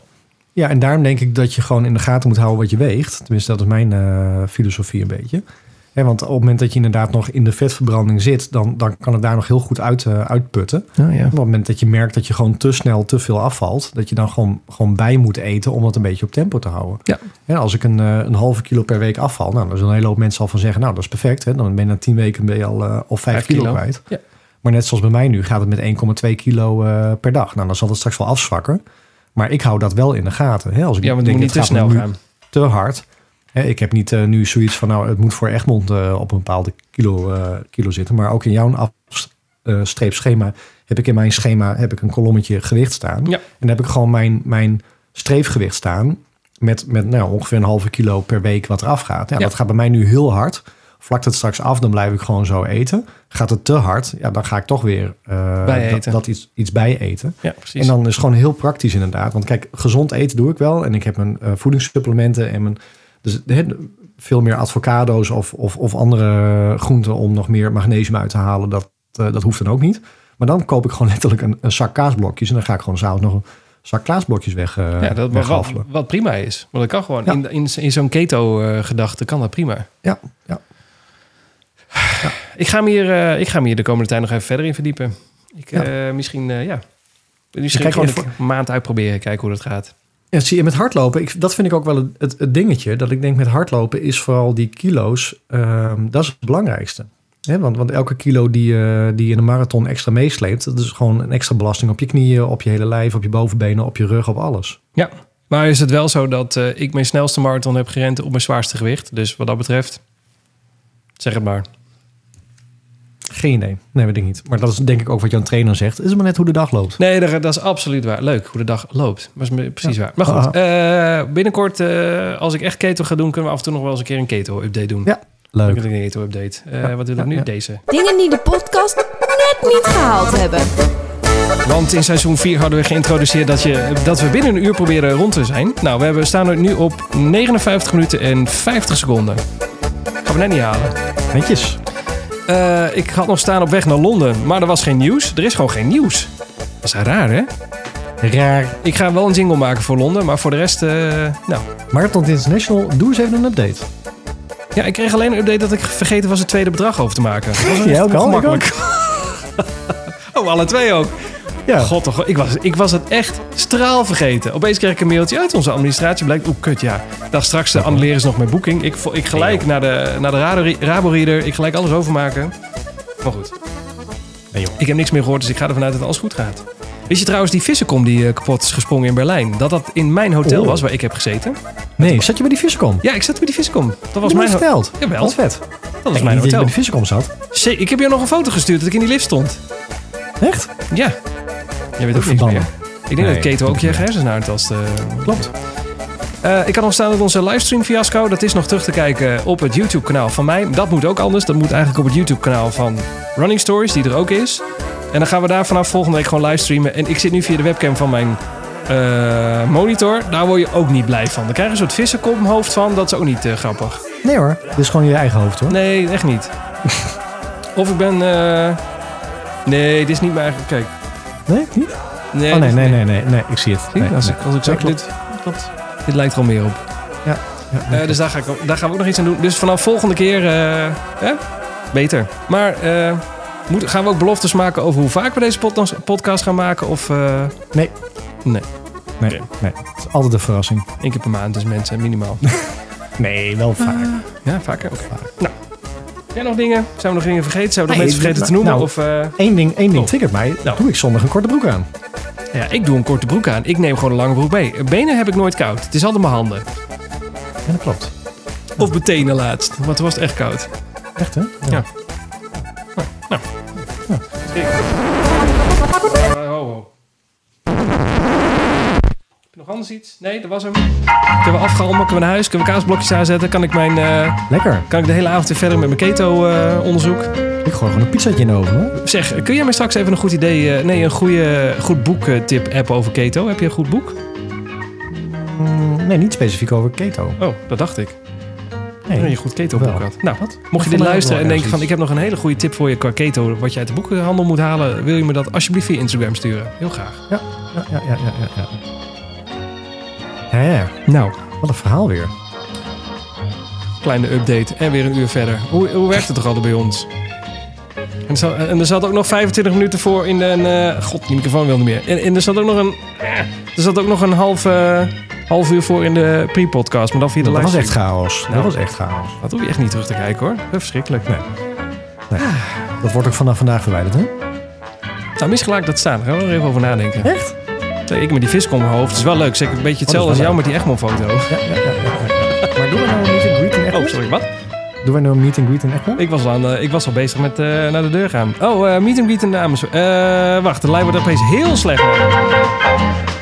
Ja, en daarom denk ik dat je gewoon in de gaten moet houden wat je weegt. Tenminste, dat is mijn eh, filosofie een beetje. Hè, want op het moment dat je inderdaad nog in de vetverbranding zit, dan, dan kan het daar nog heel goed uit, eh, uitputten. ja. Op het moment dat je merkt dat je gewoon te snel te veel afvalt, dat je dan gewoon, gewoon bij moet eten om dat een beetje op tempo te houden. Ja. Hè, als ik een, eh, een halve kilo per week afval, nou, dan is een hele hoop mensen al van zeggen, nou dat is perfect. Hè? Dan ben je na tien weken ben je al, eh, al vijf Vijf kilo, kilo. kwijt. Ja. Maar net zoals bij mij nu gaat het met 1,2 kilo eh, per dag. Nou, dan zal het straks wel afzwakken. Maar ik hou dat wel in de gaten. Hè? Als ik ja, want het denk, moet niet te het gaat me snel nu gaan. te hard. Hè, ik heb niet eh, nu zoiets van, nou, het moet voor Egmond eh, op een bepaalde kilo, eh, kilo zitten. Maar ook in jouw afstreepschema heb ik in mijn schema heb ik een kolommetje gewicht staan. Ja. En dan heb ik gewoon mijn, mijn streefgewicht staan met, met nou, ongeveer een halve kilo per week wat eraf gaat. Ja, Ja. Dat gaat bij mij nu heel hard. Vlakt het straks af, dan blijf ik gewoon zo eten. Gaat het te hard, ja, dan ga ik toch weer eh, Bijeten. dat, dat iets, iets bij eten. Ja, precies. En dan is het gewoon heel praktisch inderdaad. Want kijk, gezond eten doe ik wel. En ik heb mijn eh, voedingssupplementen en mijn... Dus hè, veel meer avocado's of, of, of andere groenten om nog meer magnesium uit te halen. Dat, eh, dat hoeft dan ook niet. Maar dan koop ik gewoon letterlijk een, een zak kaasblokjes. En dan ga ik gewoon s'avonds nog een zak kaasblokjes weg, eh Ja, dat mag wel, weghaffelen. wat prima is. Want dat kan gewoon. Ja. In, in, in zo'n keto-gedachte kan dat prima. Ja, ja. Ik ga, me hier, eh, ik ga me hier de komende tijd nog even verder in verdiepen. Ik, Ja. eh, misschien, eh, ja. Misschien kijk gewoon gewoon een maand uitproberen, kijken hoe dat gaat. Ja, zie je, met hardlopen, ik, dat vind ik ook wel het, het, het dingetje. Dat ik denk met hardlopen is vooral die kilo's, ehm, dat is het belangrijkste. Hè, want, want elke kilo die, je- die je in een marathon extra meesleept, dat is gewoon een extra belasting op je knieën, op je hele lijf, op je bovenbenen, op je rug, op alles. Ja, maar is het wel zo dat eh, ik mijn snelste marathon heb gerend op mijn zwaarste gewicht? Dus wat dat betreft, zeg het maar. Geen idee. Nee, weet ik niet. Maar dat is denk ik ook wat jouw trainer zegt. Het is maar net hoe de dag loopt. Nee, dat, dat is absoluut waar. Leuk hoe de dag loopt. Maar is me- precies waar. Maar goed, eh, binnenkort, eh, als ik echt keto ga doen, kunnen we af en toe nog wel eens een keer een keto-update doen. Ja, Dan Leuk. kan ik een keto-update. Eh, Ja, wat wil ik ja, nu? ja. Deze. Dingen die de podcast net niet gehaald hebben. Want in seizoen 4 hadden we geïntroduceerd dat, je, dat we binnen een uur proberen rond te zijn. Nou, we, hebben, we staan er nu op 59 minuten en 50 seconden. Gaan we net niet halen. Netjes. Eh, ik had nog staan op weg naar Londen, maar er was geen nieuws. Er is gewoon geen nieuws. Dat is raar, hè? Raar. Ik ga wel een jingle maken voor Londen, maar voor de rest... eh, nou, Marathon International, doe eens even een update. ja, ik kreeg alleen een update dat ik vergeten was het tweede bedrag over te maken. Dat was Jij ook al? makkelijk. oh, alle twee ook. Ja. Oh. God, toch, ik was, ik was het echt straal vergeten. Opeens kreeg ik een mailtje uit onze administratie. Blijkt, oeh, kut, ja. Daar straks uh, annuleren ze nog mijn boeking. Ik, vo- ik gelijk naar de, naar de rado- Rabo-reader. Ik gelijk alles overmaken. Maar goed. Nee, joh. Ik heb niks meer gehoord, dus ik ga ervan uit dat alles goed gaat. Wist je trouwens die vissencom die eh, kapot is gesprongen in Berlijn? Dat dat in mijn hotel Oeh. was waar ik heb gezeten. Nee, zat je bij die Viscom? Ja, ik zat bij die vissencom. Dat was je mijn, ho- verteld. Jawel. Wat vet. dat was Ik mijn niet dat je bij hotel. de Viscom zat. Zee, Ik heb jou nog een foto gestuurd dat ik in die lift stond. Echt? Ja. Jij weet ook niks Verbannen. meer. Ik denk Nee, dat Keto ook je hersenen aantast. eh. Klopt. Eh, ik had nog staan dat onze livestream fiasco. Dat is nog terug te kijken op het YouTube kanaal van mij. Dat moet ook anders. Dat moet eigenlijk op het YouTube kanaal van Running Stories, die er ook is. En dan gaan we daar vanaf volgende week gewoon livestreamen. En ik zit nu via de webcam van mijn eh, monitor. Daar word je ook niet blij van. Daar krijg je een soort vissenkophoofd van. Dat is ook niet eh, grappig. Nee hoor. Dit is gewoon je eigen hoofd hoor. Nee, echt *laughs* niet. of ik ben... eh, Nee, dit is niet mijn eigen... Kijk. Nee? Niet? Nee, Oh dit nee, is- nee, nee, nee, nee. Ik zie het. Zie je? Nee, als, nee. ik, als ik zo Ja, klopt. dit, klopt. dit lijkt er al meer op. Ja, Eh, dus daar, ga ik, ook- daar gaan we ook nog iets aan doen. Dus vanaf volgende keer eh, hè? beter. Maar eh, moet, gaan we ook beloftes maken over hoe vaak we deze pod- podcast gaan maken? Of eh, Nee. Nee. Nee, Oké. nee. Het is altijd een verrassing. één keer per maand, dus mensen minimaal. Nee, wel vaak. ja, vaker? Oké. Vaak. Nou, jij nog dingen? Zijn we nog dingen vergeten? Zijn we nog Nee, mensen vergeten dat- te noemen? nou. of, eh, Eén ding, één ding Oh. triggert mij. Nou. Doe ik zondag een korte broek aan? ja, ik doe een korte broek aan. Ik neem gewoon een lange broek mee. Benen heb ik nooit koud. Het is altijd mijn handen. Ja, dat klopt. Of mijn tenen laatst, want toen was het echt koud. Echt hè? Ja. Eh, ho, ho. Heb je nog anders iets? Nee, dat was hem. Kunnen we afgalmen? Kunnen we naar huis? Kunnen we kaasblokjes aanzetten? Kan ik, mijn, eh, Lekker. kan ik de hele avond weer verder met mijn keto-onderzoek? Ik gooi gewoon een pizzaatje in de oven hoor. zeg, kun jij mij straks even een goed idee... eh, nee, een goede, goed boek-tip-app over keto? Heb je een goed boek? Mm, Nee, niet specifiek over keto. Oh, dat dacht ik. Nee. Dat je een goed keto-boek Wel. had. Nou, Wat? mocht je Vandaag dit wel luisteren en ergens denken van... iets. ik heb nog een hele goede tip voor je qua keto... wat je uit de boekenhandel moet halen... wil je me dat alsjeblieft via Instagram sturen? Heel graag. Ja, ja, ja, ja, ja. ja. Ja, ja. Nou, Wat een verhaal weer. kleine update en weer een uur verder. Hoe, hoe werkt het toch altijd bij ons? En er, zat, en er zat ook nog 25 minuten voor in een... eh, God, die microfoon wilde meer. En, en er zat ook nog een... eh, er zat ook nog een half, eh, half uur voor in de pre-podcast. Maar dan via de Dat was livestream. echt chaos. Nou. Dat was echt chaos. Dat hoef je echt niet terug te kijken hoor. Dat is verschrikkelijk. Nee. Dat wordt ook vanaf vandaag verwijderd, hè? Nou, misschien laat ik dat staan. Daar gaan we er even over nadenken. Echt? Oh, Ik met die vis kom mijn hoofd. Dat is wel leuk. Zeker een beetje hetzelfde als wel jou met die Egmond-foto. Ja, ja, ja. ja, ja. Maar doen we nou een meet and greet in *laughs* Oh, Egmond? sorry, wat? doen we nou een meet and greet in Egmond? Ik was al, aan, eh, ik was al bezig met eh, naar de deur gaan. Oh, eh meet and greet in de Amersfoort. Eh, wacht, de lijn wordt opeens heel slecht.